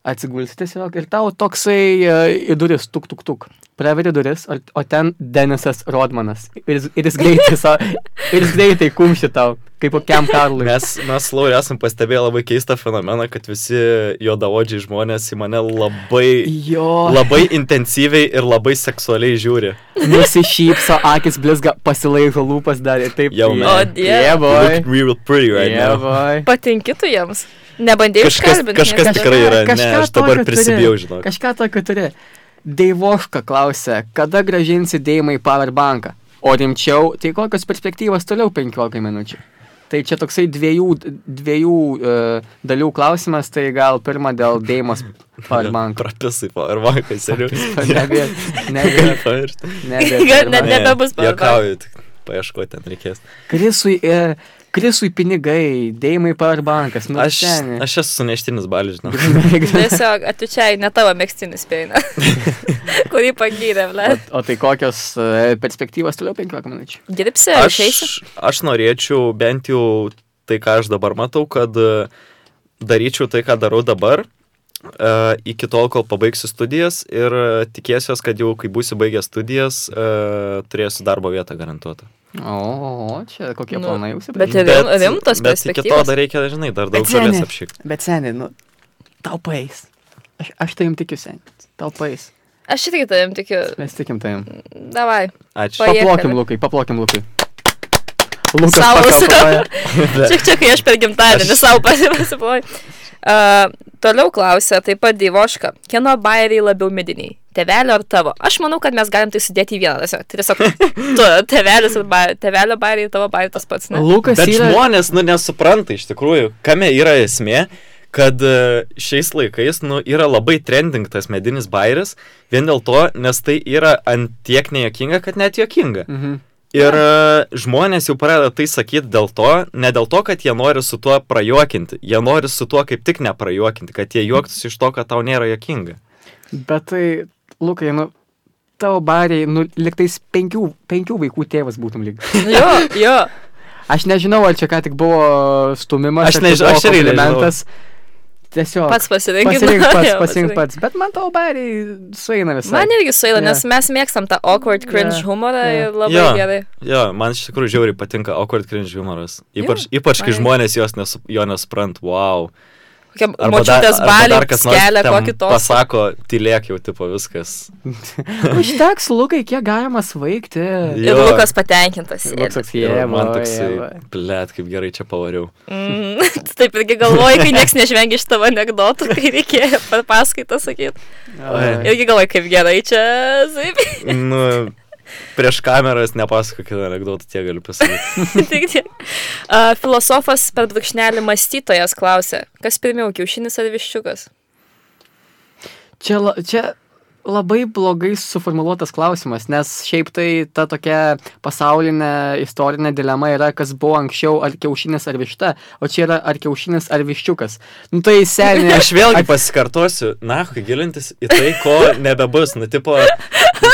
Speaker 1: atsigulsi tiesiog ir tau toksai e, į duris, tuk, tuk, tuk. Praveri duris, o, o ten Denisas Rodmanas. Ir, jis- ir jis greitai, sa- ir jis greitai kumšti tau, kaip kokiam Karlui.
Speaker 2: Mes, mes Laurį esam pastebėję labai keistą fenomeną, kad visi juodaodžiai žmonės į mane labai,
Speaker 1: Jo,
Speaker 2: labai intensyviai ir labai seksualiai žiūri.
Speaker 1: nusišypso, akis blizga, pasilaižo lūpas dar ir taip.
Speaker 2: Jau,
Speaker 1: yeah.
Speaker 2: man.
Speaker 3: O dieve.
Speaker 1: Yeah,
Speaker 2: You
Speaker 1: boy.
Speaker 2: look real pretty right
Speaker 1: Yeah,
Speaker 2: now.
Speaker 1: boy.
Speaker 3: Patinkitų jiems. Nebandėjai
Speaker 2: Kažkas,
Speaker 3: užkalbinti.
Speaker 2: kažkas
Speaker 3: niekada.
Speaker 2: tikrai yra, ne,
Speaker 1: kažką
Speaker 2: aš dabar
Speaker 1: tokio turi.
Speaker 2: prisibijau, žinok.
Speaker 1: Kažką tokio turi. Deivoška klausė, kada gražinsi Deimą į Powerbanką? O rimčiau, tai kokios perspektyvos toliau 15 minučių? Tai čia toksai dviejų, dviejų uh, dalių klausimas, tai gal pirmą dėl Deimos Powerbanko.
Speaker 2: Prapisai, Powerbankai, seniau.
Speaker 1: Nebėra. Nebėra.
Speaker 3: Gal net
Speaker 1: Nebėra.
Speaker 3: nebebus Powerbank.
Speaker 2: Jokauju, tik paieškoti ten reikės.
Speaker 1: Krisui, e, Krisui pinigai, Deimai Powerbankas. Nu,
Speaker 2: Aš,
Speaker 1: seni.
Speaker 2: aš esu suneštinis balis, žinau.
Speaker 3: Tiesiog atvičiai ne tavo mėgstinis peina, kurį pagydė, ble.
Speaker 1: O, o tai kokios e, perspektyvos toliau 15 minučių?
Speaker 3: Dirbsi,
Speaker 2: Aš,
Speaker 3: išeisi.
Speaker 2: aš norėčiau bent jau tai, ką aš dabar matau, kad e, daryčiau tai, ką darau dabar, e, iki tol, kol pabaigsiu studijas ir e, tikėsiuos, kad jau kai būsiu baigęs studijas, e, turėsiu darbo vietą garantuotą.
Speaker 1: O, čia kokie
Speaker 3: Nu,
Speaker 1: planai užsibrėžti.
Speaker 3: bet ir rim- rimtos
Speaker 2: bet iki to
Speaker 3: perspektyvos.
Speaker 2: dar reikia, žinai, dar daug
Speaker 1: Bet seni.
Speaker 2: žalės apšykti.
Speaker 1: Bet seniai, nu, tau paės. Aš, aš tai jums tikiu, seniai. Tau paės.
Speaker 3: Aš irgi tavim tikiu.
Speaker 1: Mes tikim tai jums.
Speaker 3: Davai.
Speaker 2: Ačiū.
Speaker 3: Pai- Paėkame.
Speaker 1: Paplokim, Lukai, paplokim, Lukai. Lukas
Speaker 3: Savas.
Speaker 1: pakalpoja.
Speaker 3: Čia, čia, kai aš per gimtadienį savo pasiploju. Uh, toliau klausia taip pat Dievoška, kieno bairiai labiau mediniai? Tevelio ar tavo? Aš manau, kad mes galim tai sudėti į vieną. ta prasme, tai Tiesiog, tu, tevelis, ir bai- tevelio bairiai, tavo bairiai tas pats. Ne?
Speaker 1: Lukas
Speaker 2: Bet
Speaker 1: yra...
Speaker 2: žmonės, nu, nesupranta iš tikrųjų, kame yra esmė, kad e, šiais laikais, nu, yra labai trending tas medinis bairis, vien dėl to, nes tai yra antiek nejuokinga, kad net juokinga.
Speaker 1: Mhm.
Speaker 2: Ir e, žmonės jau pradeda tai sakyti dėl to, ne dėl to, kad jie nori su tuo prajuokinti, jie nori su tuo kaip tik neprajuokinti, kad jie juoktųsi iš to, kad tau nėra juokinga.
Speaker 1: Bet tai, Lukai, nu, tavo bariai, nu, liktais penkių, penkių vaikų tėvas būtum lyg.
Speaker 3: Jo, jo.
Speaker 1: Aš nežinau, ar čia ką tik buvo stumimas.
Speaker 2: Aš nežinau, aš irgi nežinau.
Speaker 1: Tiesiog.
Speaker 3: Pats pasirink.
Speaker 1: pasirink pats,
Speaker 3: Jo,
Speaker 1: pasirink pats. Bet man tavo bariai sueina visai.
Speaker 3: Man irgi
Speaker 1: Jo.
Speaker 3: suėda, yeah. nes mes mėgstam tą awkward cringe
Speaker 1: Jo,
Speaker 3: yeah. humorą
Speaker 1: jo.
Speaker 3: yeah. ir labai
Speaker 2: Jo.
Speaker 3: yeah. gerai.
Speaker 2: Jo, man iš tikrųjų žiauriai patinka awkward cringe humoras. Ypač,
Speaker 3: Jo,
Speaker 2: ypač kai
Speaker 3: man-
Speaker 2: žmonės jos nesu, jo nesuprant, wow.
Speaker 3: Kokia
Speaker 2: Arba dar-
Speaker 3: močiutės
Speaker 2: arba
Speaker 3: balė,
Speaker 2: dar kas nors
Speaker 3: kelia
Speaker 2: ten
Speaker 3: kokį tos.
Speaker 2: Pasako, tylėk jau, tipo, viskas.
Speaker 1: Užteks, Lukai, kiek galima svaigti.
Speaker 2: Jo. Nu, tai
Speaker 3: Ir Lukas patenkintas. sėdi.
Speaker 1: Lukas, nu, jie,
Speaker 2: Ir man
Speaker 1: jeva.
Speaker 2: toksai, blėt, kaip gerai čia pavariau.
Speaker 3: Mm, tu taip irgi galvoji, kai niekas nežvengia iš tavo anegdotų, kai reikėjo per paskaitą sakyti.
Speaker 1: Oi.
Speaker 3: Irgi galvoji, kaip gerai čia. Taip,
Speaker 2: Nu, prieš kameras nepasakokit anegdotų, tie galiu pasakyti.
Speaker 3: tik tiek. Uh, filosofas per brūkšnelį mąstytojas klausė, kas pirmiau, kiaušinis ar viščiukas?
Speaker 1: Čia, la- čia labai blogai suformuoluotas klausimas, nes šiaip tai ta tokia pasaulinė istorinė dilema yra, kas buvo anksčiau, ar kiaušinis ar višta, o čia yra ar kiaušinis ar viščiukas. Nu tai seniai
Speaker 2: Aš vėlgi pasikartosiu, na, kai gilintis į tai, ko nebebus. Nu, tipo,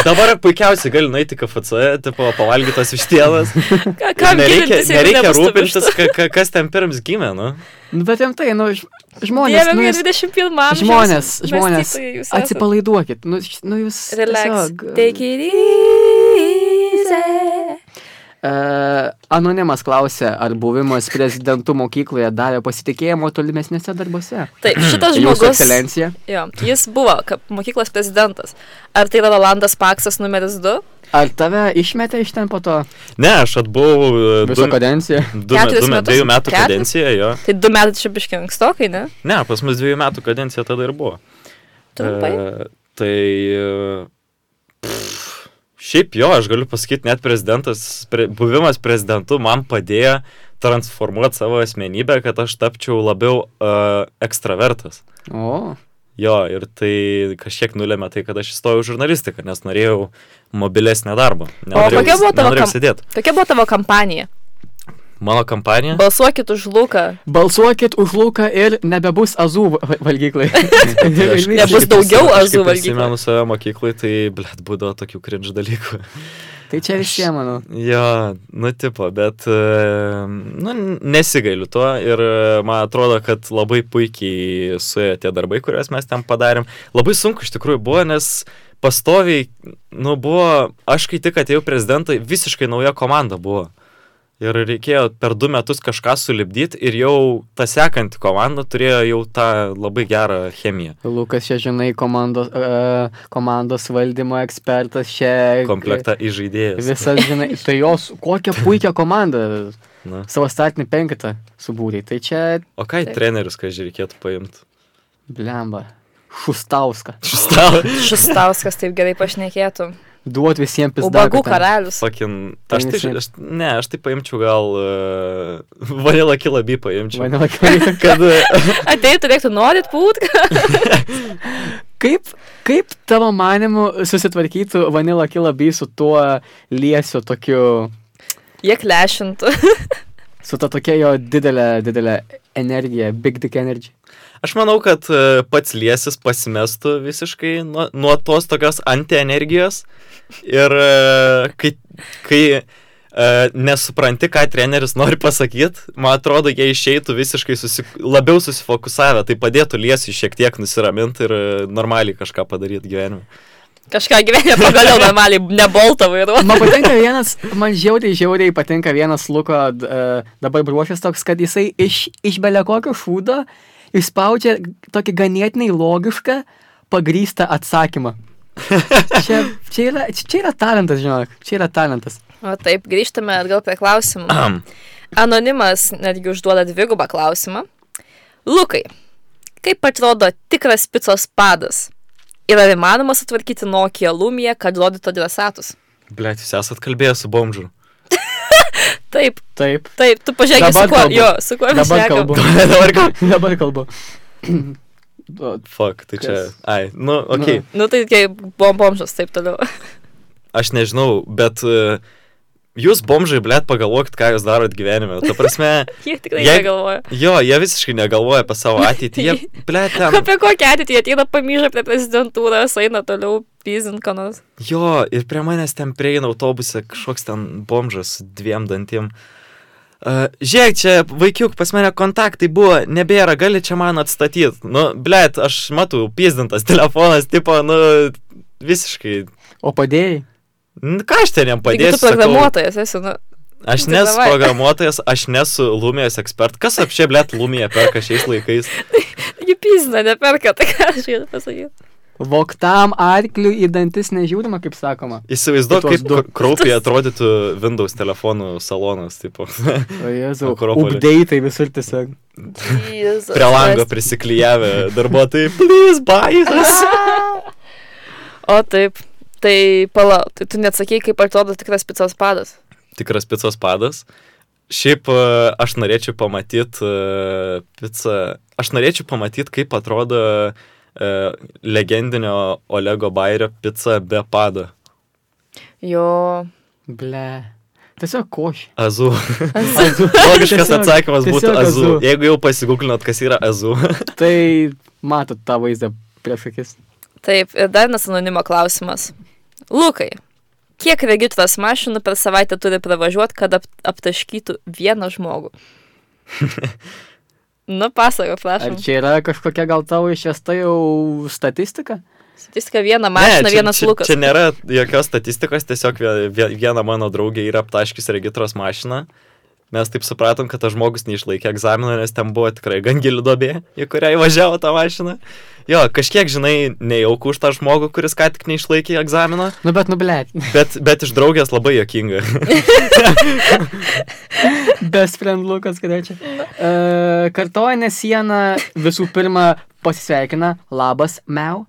Speaker 2: dabar puikiausiai gali nueiti į KFC, tipo, pavalgyti tos vištielas.
Speaker 3: Ką,
Speaker 2: Ir
Speaker 3: kam
Speaker 2: Nereikia,
Speaker 3: gilintis, jeigu
Speaker 2: nereikia
Speaker 3: nebus tų
Speaker 2: rūpintis,
Speaker 3: vištų?
Speaker 2: ka, ka, kas ten pirms gimė, nu.
Speaker 1: Nu, bet rimtai, nu, ž- žmonės,
Speaker 3: Dieve,
Speaker 1: nu,
Speaker 3: mano
Speaker 1: jūs,
Speaker 3: 21 amžiaus.
Speaker 1: žmonės, žmonės,
Speaker 3: mąstytojai jūs esat.
Speaker 1: atsipalaiduokit, nu, š- nu jūs.
Speaker 3: Relax.
Speaker 1: tiesiog,
Speaker 3: Take it easy.
Speaker 1: e, anonimas klausė, ar buvimas prezidentų mokykloje davė pasitikėjimo tolimesnėse darbose.
Speaker 3: Taip,
Speaker 2: Hmm.
Speaker 3: šitas
Speaker 1: Jūsų
Speaker 3: žmogus.
Speaker 1: ekscelencija.
Speaker 3: Jo, jis buvo ka- mokyklos prezidentas. Ar tai yra Rolandas Paksas numeris 2?
Speaker 1: Ar tave išmetė iš ten po to
Speaker 2: Ne, aš atbuvau e, du,
Speaker 1: visą kadenciją?
Speaker 2: du,
Speaker 3: Keturis
Speaker 2: du, me-
Speaker 3: metus?
Speaker 2: dviejų metų
Speaker 3: Keturis?
Speaker 2: kadenciją, jo.
Speaker 3: Tai 2 metai čia biškiai ankstokai, ne?
Speaker 2: Ne, pas mus dviejų metų kadencija tada ir buvo.
Speaker 3: Trumpai.
Speaker 2: E, tai... e, pff, Šiaip jo, aš galiu pasakyti, net prezidentas, pre, buvimas prezidentu man padėjo transformuoti savo asmenybę, kad aš tapčiau labiau uh, ekstravertas.
Speaker 1: O,
Speaker 2: Jo, ir tai kažkiek nulėmė tai, kad aš įstojau į žurnalistiką, nes norėjau mobilesnę darbą.
Speaker 3: kokia buvo tavo
Speaker 2: Norėjau
Speaker 3: kam-
Speaker 2: sėdėti.
Speaker 3: Tokia buvo tavo kampanija.
Speaker 2: Mano kampanija.
Speaker 3: Balsuokit už Luką.
Speaker 1: balsuokit už Luką ir nebebus azų va- valgyklai.
Speaker 2: Tai Aš-
Speaker 3: Nebus
Speaker 2: aš kaip
Speaker 3: daugiau
Speaker 2: prisimenu- aš
Speaker 3: azų
Speaker 2: kaip
Speaker 3: valgykloj.
Speaker 2: Prisimenu save mokykloje, tai, blėt, būdavo tokių krindž dalykų.
Speaker 1: Tai čia visiems, manau.
Speaker 2: Jo, nu tipo, bet e, nu, nesigailiu tuo ir e, man atrodo, kad labai puikiai suėjo tie darbai, kuriuos mes ten padarėm. Labai sunku iš tikrųjų buvo, nes pastoviai, nu buvo, aš kai tik atėjau prezidentai, visiškai nauja komanda buvo. Ir reikėjo per du metus kažką sulibdyti ir jau ta sekanti komanda turėjo jau tą labai gerą chemiją.
Speaker 1: Lukas čia, žinai, komandos, uh, komandos valdymo ekspertas čia.
Speaker 2: Komplektą įžaidėjas.
Speaker 1: Visas, žinai, tai jos, kokią puikią komandą
Speaker 2: Na.
Speaker 1: savo statinį penketą subūrė. Tai čia,
Speaker 2: O ką į
Speaker 3: Taip.
Speaker 2: trenerius, ką reikėtų paimti?
Speaker 1: blemba, šustauska.
Speaker 2: Šustavo.
Speaker 3: Šustauskas taip gerai pašnekėtų.
Speaker 1: Duot visiems
Speaker 3: Ubagų
Speaker 1: pizdą.
Speaker 3: karalius.
Speaker 2: Sakin,
Speaker 1: Tai
Speaker 2: aš tai,
Speaker 1: neseniai.
Speaker 2: aš, ne, aš tai paimčiau gal uh, vanilą kilabį paimčiau.
Speaker 1: Mane labai
Speaker 2: Kad, e,
Speaker 3: Ateitų, reiktų, norit būt?
Speaker 1: Kaip, kaip tavo manimu susitvarkytų Vanilla Kilaby su tuo liesiu tokiu,
Speaker 3: Jie klešintų.
Speaker 1: su ta tokia jo didelė, didelė energija, big dick energy?
Speaker 2: aš manau, kad e, pats liesis pasimestų visiškai nuo, nuo tos tokios antienergijos. Ir e, kai, kai e, nesupranti, ką treneris nori pasakyti, man atrodo, jie išeitų visiškai susi, labiau susifokusavę, tai padėtų liesiui šiek tiek nusiraminti ir e, normaliai kažką padaryti gyvenime.
Speaker 3: Kažką gyvenime pagaliau normaliai, neboltą vairuoju.
Speaker 1: Man patinka vienas, man žiauriai, žiauriai patinka vienas Luko d- e, dabar bruožas toks, kad jisai iš, iš belio kokio šūdo išspaudžia tokį ganėtinai logišką, pagrystą atsakymą. čia, čia, yra, čia yra talentas, žinok, čia yra talentas.
Speaker 3: O taip, grįžtame atgal prie klausimų.
Speaker 2: Ahem.
Speaker 3: Anonimas netgi užduoda dvigubą klausimą. Lukai, kaip atrodo tikras picos padas? Ir ar įmanoma sutvarkyti Nokia Lumia, kad rodytų adresatus?
Speaker 2: Blet, jūs esat kalbėjęs su bomžu.
Speaker 3: Taip,
Speaker 1: Taip.
Speaker 3: taip, tu pažiūrėk, su
Speaker 1: Dabar
Speaker 3: kuo,
Speaker 1: kalbu.
Speaker 3: jo, su kuo mes
Speaker 1: Dabar
Speaker 3: šnekam.
Speaker 1: kalbu.
Speaker 2: Dabar ką?
Speaker 1: Dabar kalbu. O,
Speaker 2: Fuck, tai čia.
Speaker 1: Kas?
Speaker 2: Ai, nu, okei. Okay.
Speaker 3: Nu tai kaip bombomžas, taip toliau.
Speaker 2: Aš nežinau, bet e, jūs bomžai, blet, pagalvokit, ką jūs darot gyvenime. Ta prasme,
Speaker 3: Jie tikrai
Speaker 2: Jei-
Speaker 3: negalvoja.
Speaker 2: jo, jie visiškai negalvoja apie savo ateitį. Jie, blet, ten.
Speaker 3: Apie kokią ateitį jie ateina pamyžę prie prezidentūros, eina toliau pizinkanos.
Speaker 2: Jo, ir prie manęs ten prieina autobuse kažkoks ten bomžas su dviem dantim. Uh, žiūrėk, čia vaikiuk, pas mane kontaktai buvo, nebėra, gali čia man atstatyti. Nu, blėt, aš matau, pizdintas telefonas, tipo, nu, visiškai.
Speaker 1: o padėjai?
Speaker 2: Nu, ką aš ten jam
Speaker 3: Taigi
Speaker 2: padėsiu?
Speaker 3: tu
Speaker 2: sakau,
Speaker 3: programuotojas esi, nu.
Speaker 2: Aš
Speaker 3: tai
Speaker 2: nesu
Speaker 3: davai.
Speaker 2: programuotojas, aš nesu Lumijos ekspert. Kas apšė, blėt, Lumija perka šiais laikais?
Speaker 3: Jį pizina, neperka, tai ką aš jai pasakysiu.
Speaker 1: Voktam arkliu į dantis nežiūrima, kaip sakoma.
Speaker 2: Įsivaizduok,
Speaker 1: Tuos
Speaker 2: kaip
Speaker 1: du.
Speaker 2: kr- kraupiai atrodytų Windows telefonų salonas, tipo.
Speaker 1: O Jėzau,
Speaker 2: Akropoly.
Speaker 1: updeitai visur tiesiog.
Speaker 2: prie lango prisiklyjavę darbuotojai, please buy us.
Speaker 3: O taip, tai pala, tai tu neatsakėjai, kaip atrodo tikras picos padas.
Speaker 2: Tikras picos padas. Šiaip e, aš norėčiau pamatyti pizzą, aš norėčiau pamatyti, kaip atrodo e, legendinio Olego Bairio pica be pado.
Speaker 3: Jo.
Speaker 1: Ble. Tiesiog koš.
Speaker 2: Azu.
Speaker 1: Azu.
Speaker 2: Logiškas
Speaker 1: Tiesiog-
Speaker 2: atsakymas būtų
Speaker 1: tiesiog
Speaker 2: azu.
Speaker 1: azu.
Speaker 2: Jeigu jau pasigūklinot, kas yra azu.
Speaker 1: Tai matot tą vaizdą prieš akis.
Speaker 3: Taip, ir dar vienas anonimo klausimas. Lukai, kiek regitros mašinų per savaitę turi pravažiuoti, kad ap aptaškytų vieną žmogų? nu, pasako,
Speaker 1: Ar
Speaker 3: prašom.
Speaker 1: čia yra kažkokia gal tavo išvesta jau statistika?
Speaker 3: Statistika viena mašina,
Speaker 2: Ne,
Speaker 3: ne,
Speaker 2: čia-
Speaker 3: vienas
Speaker 2: čia,
Speaker 3: lukas.
Speaker 2: Čia nėra jokios statistikos, tiesiog vie- vie- viena mano draugė yra aptaškis regitros mašiną. Mes taip supratom, kad tas žmogus neišlaikė egzamino, nes ten buvo tikrai gan gili dobė, į kurią įvažiavo tą mašiną. Jo, kažkiek, žinai, nejaukų už tą žmogų, kuris ką tik neišlaikė egzamino,
Speaker 1: Nu bet, nu blėt.
Speaker 2: bet, bet iš draugės labai jokinga.
Speaker 1: Best friend Lukas, kada čia. Uh, kartojame sieną, visų pirma pasisveikina, labas, meu.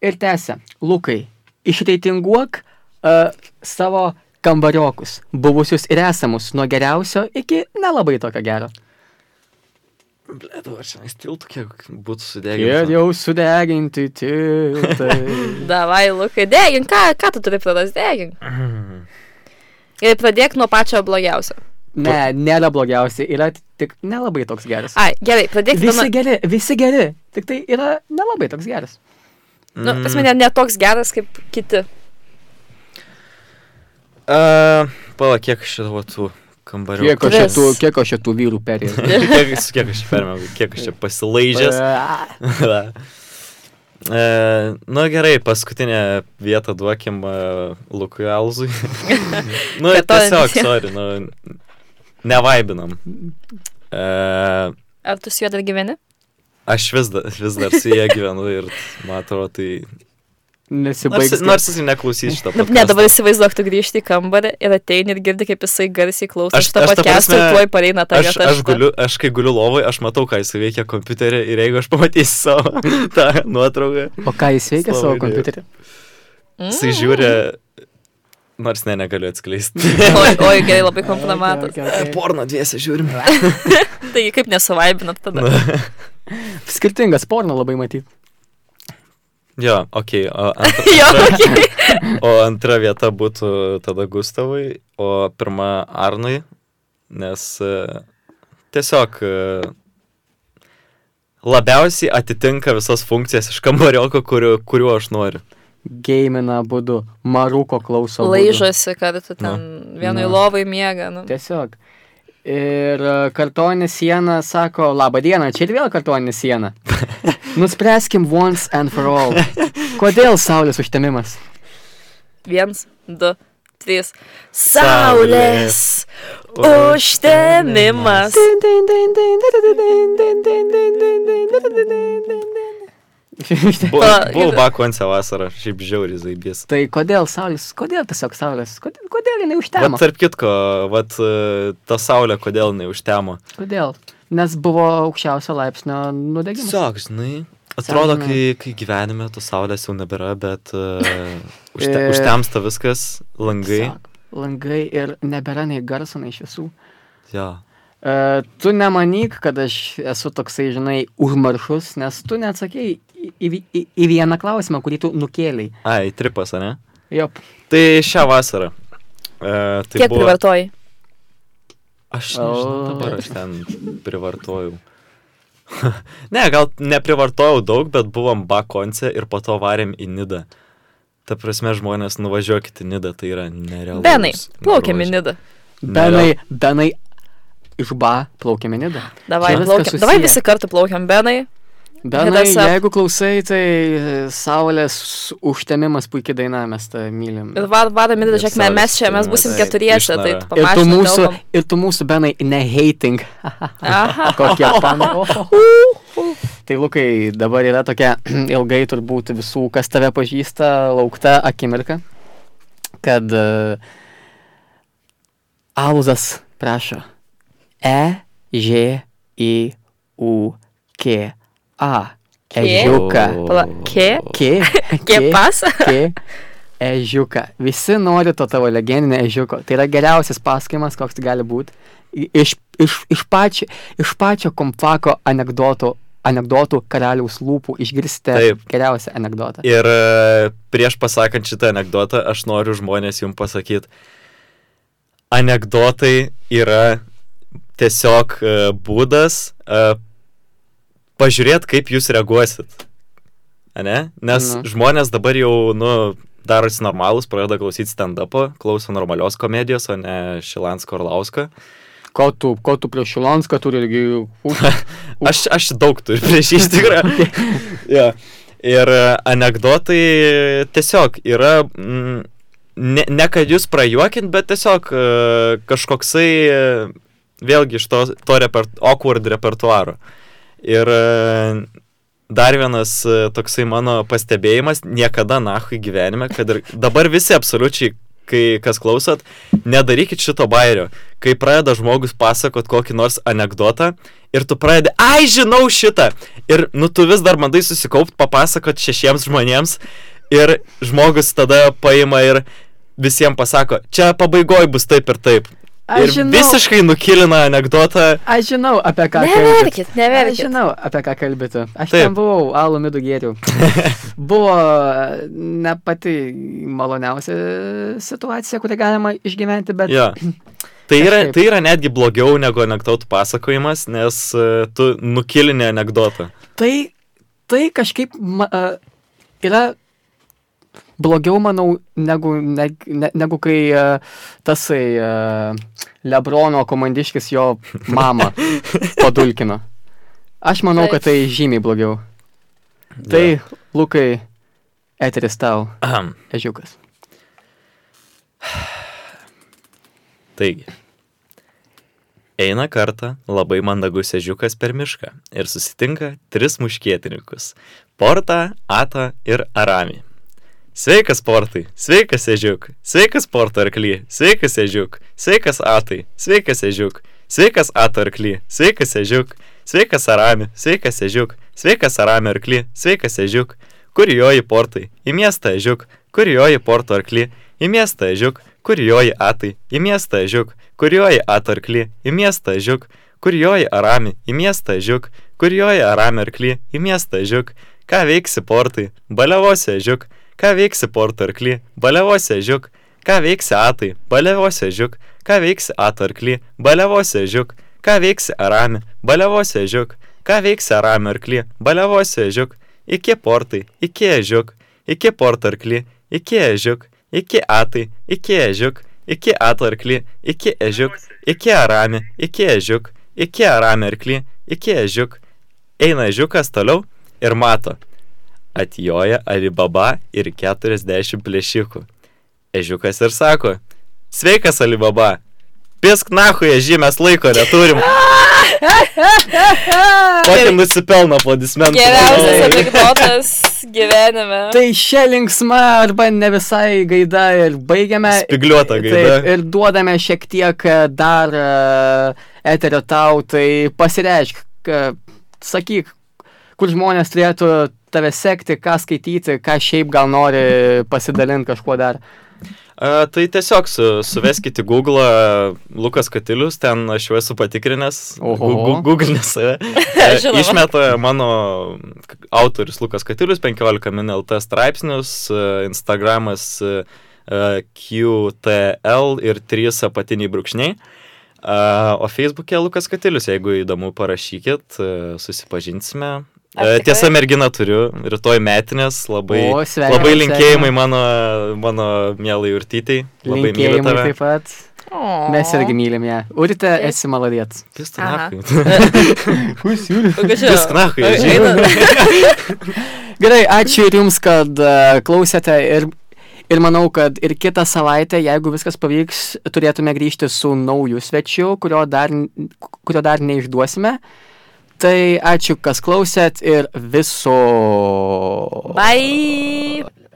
Speaker 1: Ir tęsia, Lukai, išreitinguok uh, savo kambariokus, buvusius ir esamus, nuo geriausio iki nelabai tokio gero.
Speaker 2: Ble, dabar šiandien stiltų, kiek būtų
Speaker 1: Ir
Speaker 2: sudėję.
Speaker 1: jau sudeginti tiltai.
Speaker 3: Davai, Lukai, degink, ką, ką tu turi pradėti, degink. Ir pradėk nuo pačio blogiausio.
Speaker 1: Ne, nėra blogiausia, yra tik nelabai toks geras.
Speaker 3: Ai, gerai, pradėk
Speaker 1: Visi geri, visi geri, tik tai yra nelabai toks geras.
Speaker 2: Mm.
Speaker 3: Nu, pas mane netoks geras kaip kiti.
Speaker 2: Uh, Pala, kiek šitavo tų kambarių?
Speaker 1: Kiek aš
Speaker 3: Tris.
Speaker 1: šitų, kiek aš šitų vyrų perėjau?
Speaker 2: kiek, su kiek aš čia permėgau, kiek aš čia pasilaižęs. Da. E, nu gerai, paskutinę vietą duokim e, Lukui Alzui. nu,
Speaker 3: Prie to
Speaker 2: tiesiog,
Speaker 3: visi.
Speaker 2: sorry, nu, nevaibinam. E,
Speaker 3: Ar tu su juo dar gyveni?
Speaker 2: aš vis dar, vis dar su jie gyvenu ir man atrodo, tai... Nors,
Speaker 1: Nesibaigs.
Speaker 2: nors jis ir neklausys šitą.
Speaker 3: Na, Nu, ne, dabar įsivaizduok, tu grįžti į kambarį ir ateini ir girdi, kaip jisai garsiai klauso
Speaker 2: Aš-
Speaker 3: šitą
Speaker 2: aš ta
Speaker 3: podcastą ir
Speaker 2: prasme-
Speaker 3: tuoj pareina ta
Speaker 2: Aš,
Speaker 3: vieta.
Speaker 2: aš,
Speaker 3: šita.
Speaker 2: guliu, aš kai guliu lovoje, aš matau, ką jis veikia kompiuterį ir jeigu aš pamatysiu savo tą nuotrauką,
Speaker 1: O ką jis veikia savo
Speaker 2: Slovėnijoj.
Speaker 1: kompiuterį?
Speaker 2: jisai žiūri, nors ne, negaliu atskleisti.
Speaker 3: Oi, oi, gerai, labai komplimentas.
Speaker 2: Porno dviesi žiūrim.
Speaker 3: Taigi kaip nesuvaibinat tada?
Speaker 1: Skirtingas porno labai matyti.
Speaker 2: Jo, okei. Okay,
Speaker 3: jo, okay.
Speaker 2: o antra vieta būtų tada Gustavui, o pirma Arnui, nes e, tiesiog e, labiausiai atitinka visas funkcijas iš kambarioko, kuriu- kuriuo aš noriu.
Speaker 1: Geimina būdu, Maruko klauso. abudu.
Speaker 3: Laižosi, kad tu ten vienoj
Speaker 1: Na.
Speaker 3: lovai miega. Nu.
Speaker 1: Tiesiog. Ir e, kartoninė siena sako, laba diena, čia ir vėl kartoninė siena. Nuspręskim once and for all. Kodėl saulės užtemimas?
Speaker 3: Viens, du, trys.
Speaker 2: Saulės Tai
Speaker 3: Saulės užtemimas.
Speaker 2: Buvo
Speaker 3: Pa-
Speaker 2: bu,
Speaker 3: ir-
Speaker 2: bakuose vasarą, šiaip žiauriai zaibys.
Speaker 1: Tai kodėl saulės, kodėl tiesiog saulės, kodėl, kodėl jinai
Speaker 2: Bet
Speaker 1: užtemo?
Speaker 2: tarp kitko, vat, e, ta saulė kodėl neužtemo?
Speaker 1: Kodėl? Nes buvo aukščiausio laipsnio nudegimas.
Speaker 2: Tiesiog, žinai, atrodo,
Speaker 1: Saulė.
Speaker 2: kai, kai gyvenime tos saulės jau nebėra, bet uh, užte,
Speaker 1: E.
Speaker 2: užtemsta viskas, langai.
Speaker 1: Tiesiog Langai ir nebėra nei garso, nei šviesų.
Speaker 2: Ja.
Speaker 1: E, tu nemanyk, kad aš esu toksai, žinai, užmaršus, nes tu neatsakėjai į, į, į, į vieną klausimą, kurį tu nukėliai.
Speaker 2: Ai, tripas, ar ne?
Speaker 1: Jop,
Speaker 2: Tai šią vasarą. Uh, tai
Speaker 3: Kiek
Speaker 2: buvo...
Speaker 3: privartoji?
Speaker 2: Aš nežinau,
Speaker 1: O.
Speaker 2: dabar aš ten privartojau. ne, gal neprivartojau daug, bet buvom bakonce ir po to varėm į nidą. Ta prasme, žmonės nuvažiuokit į nidą, tai yra nerealu.
Speaker 3: Benai, plaukiam į nidą.
Speaker 1: benai, benai iš ba plaukėme nidą.
Speaker 3: Davai,
Speaker 1: Čia viskas
Speaker 3: plaukiam. Davai
Speaker 1: susiję.
Speaker 3: visi kartu plaukiam, Benai.
Speaker 1: Benai,
Speaker 3: Hidasa.
Speaker 1: jeigu klausai, tai e, saulės užtemimas puikiai daina, mes tą mylim.
Speaker 3: Ir va- vadam, Nidą,
Speaker 2: Ir
Speaker 3: žiūrėkime,
Speaker 2: saulės
Speaker 3: mes čia, mes
Speaker 2: užtemimas.
Speaker 3: busim
Speaker 2: Taip,
Speaker 3: keturiese, tai
Speaker 2: išnara.
Speaker 3: tu
Speaker 1: Ir tu
Speaker 3: pamažinai
Speaker 1: mūsų,
Speaker 3: kalbam.
Speaker 1: ir tu mūsų benai nehating.
Speaker 3: Aha.
Speaker 1: Kokie panai. Tai Lukai, dabar yra tokia ilgai turbūt visų, kas tave pažįsta, laukta akimirka, kad uh, Alzas prašo E, Ž, I, U, K, A. Ežiuką.
Speaker 3: Pala, kė?
Speaker 1: K,
Speaker 3: Kiepas?
Speaker 1: K, ežiuką. Visi nori to tavo legendinio ežiuko. Tai yra geriausias pasakymas, koks tai gali būti. Iš, iš, iš, pačio, iš pačio kompako anegdotų, anegdotų karaliaus lūpų išgirsite
Speaker 2: Taip.
Speaker 1: geriausią anegdotą.
Speaker 2: Ir e, prieš pasakant šitą anegdotą, aš noriu žmonės jums pasakyti, anegdotai yra tiesiog e, būdas e, pažiūrėti, kaip jūs reaguosit. Ane? Nes
Speaker 1: Nu.
Speaker 2: nu. žmonės dabar jau, nu, darosi normalus, pradeda klausyti stand-upą, klauso normalios komedijos, o ne Šilansko Orlausko.
Speaker 1: Ko tu, ko tu prieš Šilonską turi irgi... Uf.
Speaker 2: Aš, aš daug turiu prieš jį, iš tikrųjų. ja. Ir e, anegdotai tiesiog yra, mm, ne, ne kad jūs prajuokint, bet tiesiog e, kažkoksai, e, vėlgi iš to, to reper, awkward repertuaro. Ir e, dar vienas e, toksai mano pastebėjimas, niekada nahui gyvenime, kad ir dabar visi absoliučiai, kai kas klausot, nedarykit šito bairio. Kai pradeda žmogus pasakot kokį nors anegdotą ir tu pradedi, ai žinau šitą. Ir nu tu vis dar bandai susikaupti, papasakot šešiems žmonėms ir žmogus tada paima ir visiems pasako, čia pabaigoje bus taip ir taip.
Speaker 1: Aš
Speaker 2: ir
Speaker 1: žinau.
Speaker 2: visiškai nukilina anegdotą.
Speaker 1: Aš žinau, apie ką kalbėti.
Speaker 3: Neverkit,
Speaker 1: Aš
Speaker 3: neverkit.
Speaker 1: žinau, apie ką kalbėti. Aš Taip.
Speaker 2: Taip.
Speaker 1: ten buvau, alų midų gėriau. Buvo e, ne pati maloniausia situacija, kurią galima išgyventi, bet...
Speaker 2: Ja. Tai yra,
Speaker 1: Kažkaip.
Speaker 2: tai yra netgi blogiau negu anegdotų pasakojimas, nes e, tu nukilini anegdotą.
Speaker 1: tai, tai kažkaip ma, a, yra blogiau, manau, negu, ne, ne, negu kai a, tasai a, Lebrono komandiškis jo mamą padulkino. Aš manau, kad tai žymiai blogiau. Tai,
Speaker 2: Ja.
Speaker 1: ja. Lukai, eteris tau,
Speaker 2: Ahem.
Speaker 1: ežiukas.
Speaker 2: Taigi. Eina kartą labai mandagus ežiukas per mišką ir susitinka tris muškietininkus - Portą, Atą ir Aramį. Sveikas Portai, sveikas ežiuk, sveikas Porto arkly, sveikas ežiuk, sveikas Atai, sveikas ežiuk, sveikas Ato arkly, sveikas ežiuk, sveikas Arami, sveikas ežiuk, sveikas Arami arkly, sveikas ežiuk, kur joji Portai, į miestą ežiuk, kur joji Porto arkly, į miestą ežiuk, kur joji Atai, į miestą ežiuk, kur joji Ato arkly, į miestą ežiuk, kur joji Arami, į miestą ežiuk, kur joji Arami arkly, į miestą ežiuk, ką veiksi Portai, baliavosi ežiuk, Ką veiksi porto arkly? Baliavosi žiuk. Ką veiksi atai? Baliavosi žiuk. Ką veiksi ato arkly? Baliavosi žiuk. Ką veiksi arami? Baliavosi žiuk. Ką veiksi arami arkly? Baliavosi žiuk. Iki portai, iki žiuk. iki portarklį, iki ežiuk, iki atai, iki ežiuk, iki atarklį, iki ežiuk, iki arami, iki ežiuk, iki aramerklį, iki ežiuk. Eina ežiukas toliau ir mato. Atjoja Alibaba ir 40 plėšikų. Ežiukas ir sako, sveikas Alibaba, pisk nahu ežį, mes laiko neturim. Tokį nusipelno aplaudismentų.
Speaker 3: Geriausias anegdotas gyvenime.
Speaker 1: Tai šią linksmą arba ne visai gaidą ir baigiame.
Speaker 2: Spigliuota gaida.
Speaker 1: Taip, ir duodame šiek tiek e, dar e, eterio tau, tai pasireišk, ka- sakyk, kur žmonės turėtų tave sekti, ką skaityti, ką šiaip gal nori pasidalinti kažkuo dar.
Speaker 2: A, tai tiesiog su, suveskite Google Lukas Katilius, ten aš jau esu patikrinęs,
Speaker 1: Oho.
Speaker 2: Google'inęs save. E,
Speaker 3: Žinoma.
Speaker 2: Išmeta mano k- autorius Lukas Katilius, 15 min LT straipsnius, e, Instagramas e, e, QTL ir 3 apatiniai brūkšniai. A, O Facebook'e Lukas Katilius, jeigu įdomu, parašykit, e, susipažinsime.
Speaker 3: Ar
Speaker 2: E,
Speaker 3: tikrai?
Speaker 2: Tiesa, merginą turiu, rytoj metinės, labai,
Speaker 1: O, sveikinam,
Speaker 2: labai linkėjimai
Speaker 1: sveikinam.
Speaker 2: mano, mano mielai urtytei. Labai myliu
Speaker 1: Linkėjimai
Speaker 2: tave.
Speaker 1: taip pat.
Speaker 3: O.
Speaker 1: Mes irgi mylim ją. Urite,
Speaker 3: Taip.
Speaker 1: esi maladėts.
Speaker 2: Pistu
Speaker 3: Aha.
Speaker 2: nahui.
Speaker 3: Pažiūrėjau.
Speaker 2: Pistu nahui,
Speaker 3: Ai,
Speaker 2: žinai.
Speaker 1: Gerai, ačiū ir jums, kad e, klausėte ir, ir manau, kad ir kitą savaitę, jeigu viskas pavyks, turėtume grįžti su nauju svečiu, kurio dar, n- kurio dar neišduosime. Tai ačiū, kas klausėt ir viso.
Speaker 3: Bye.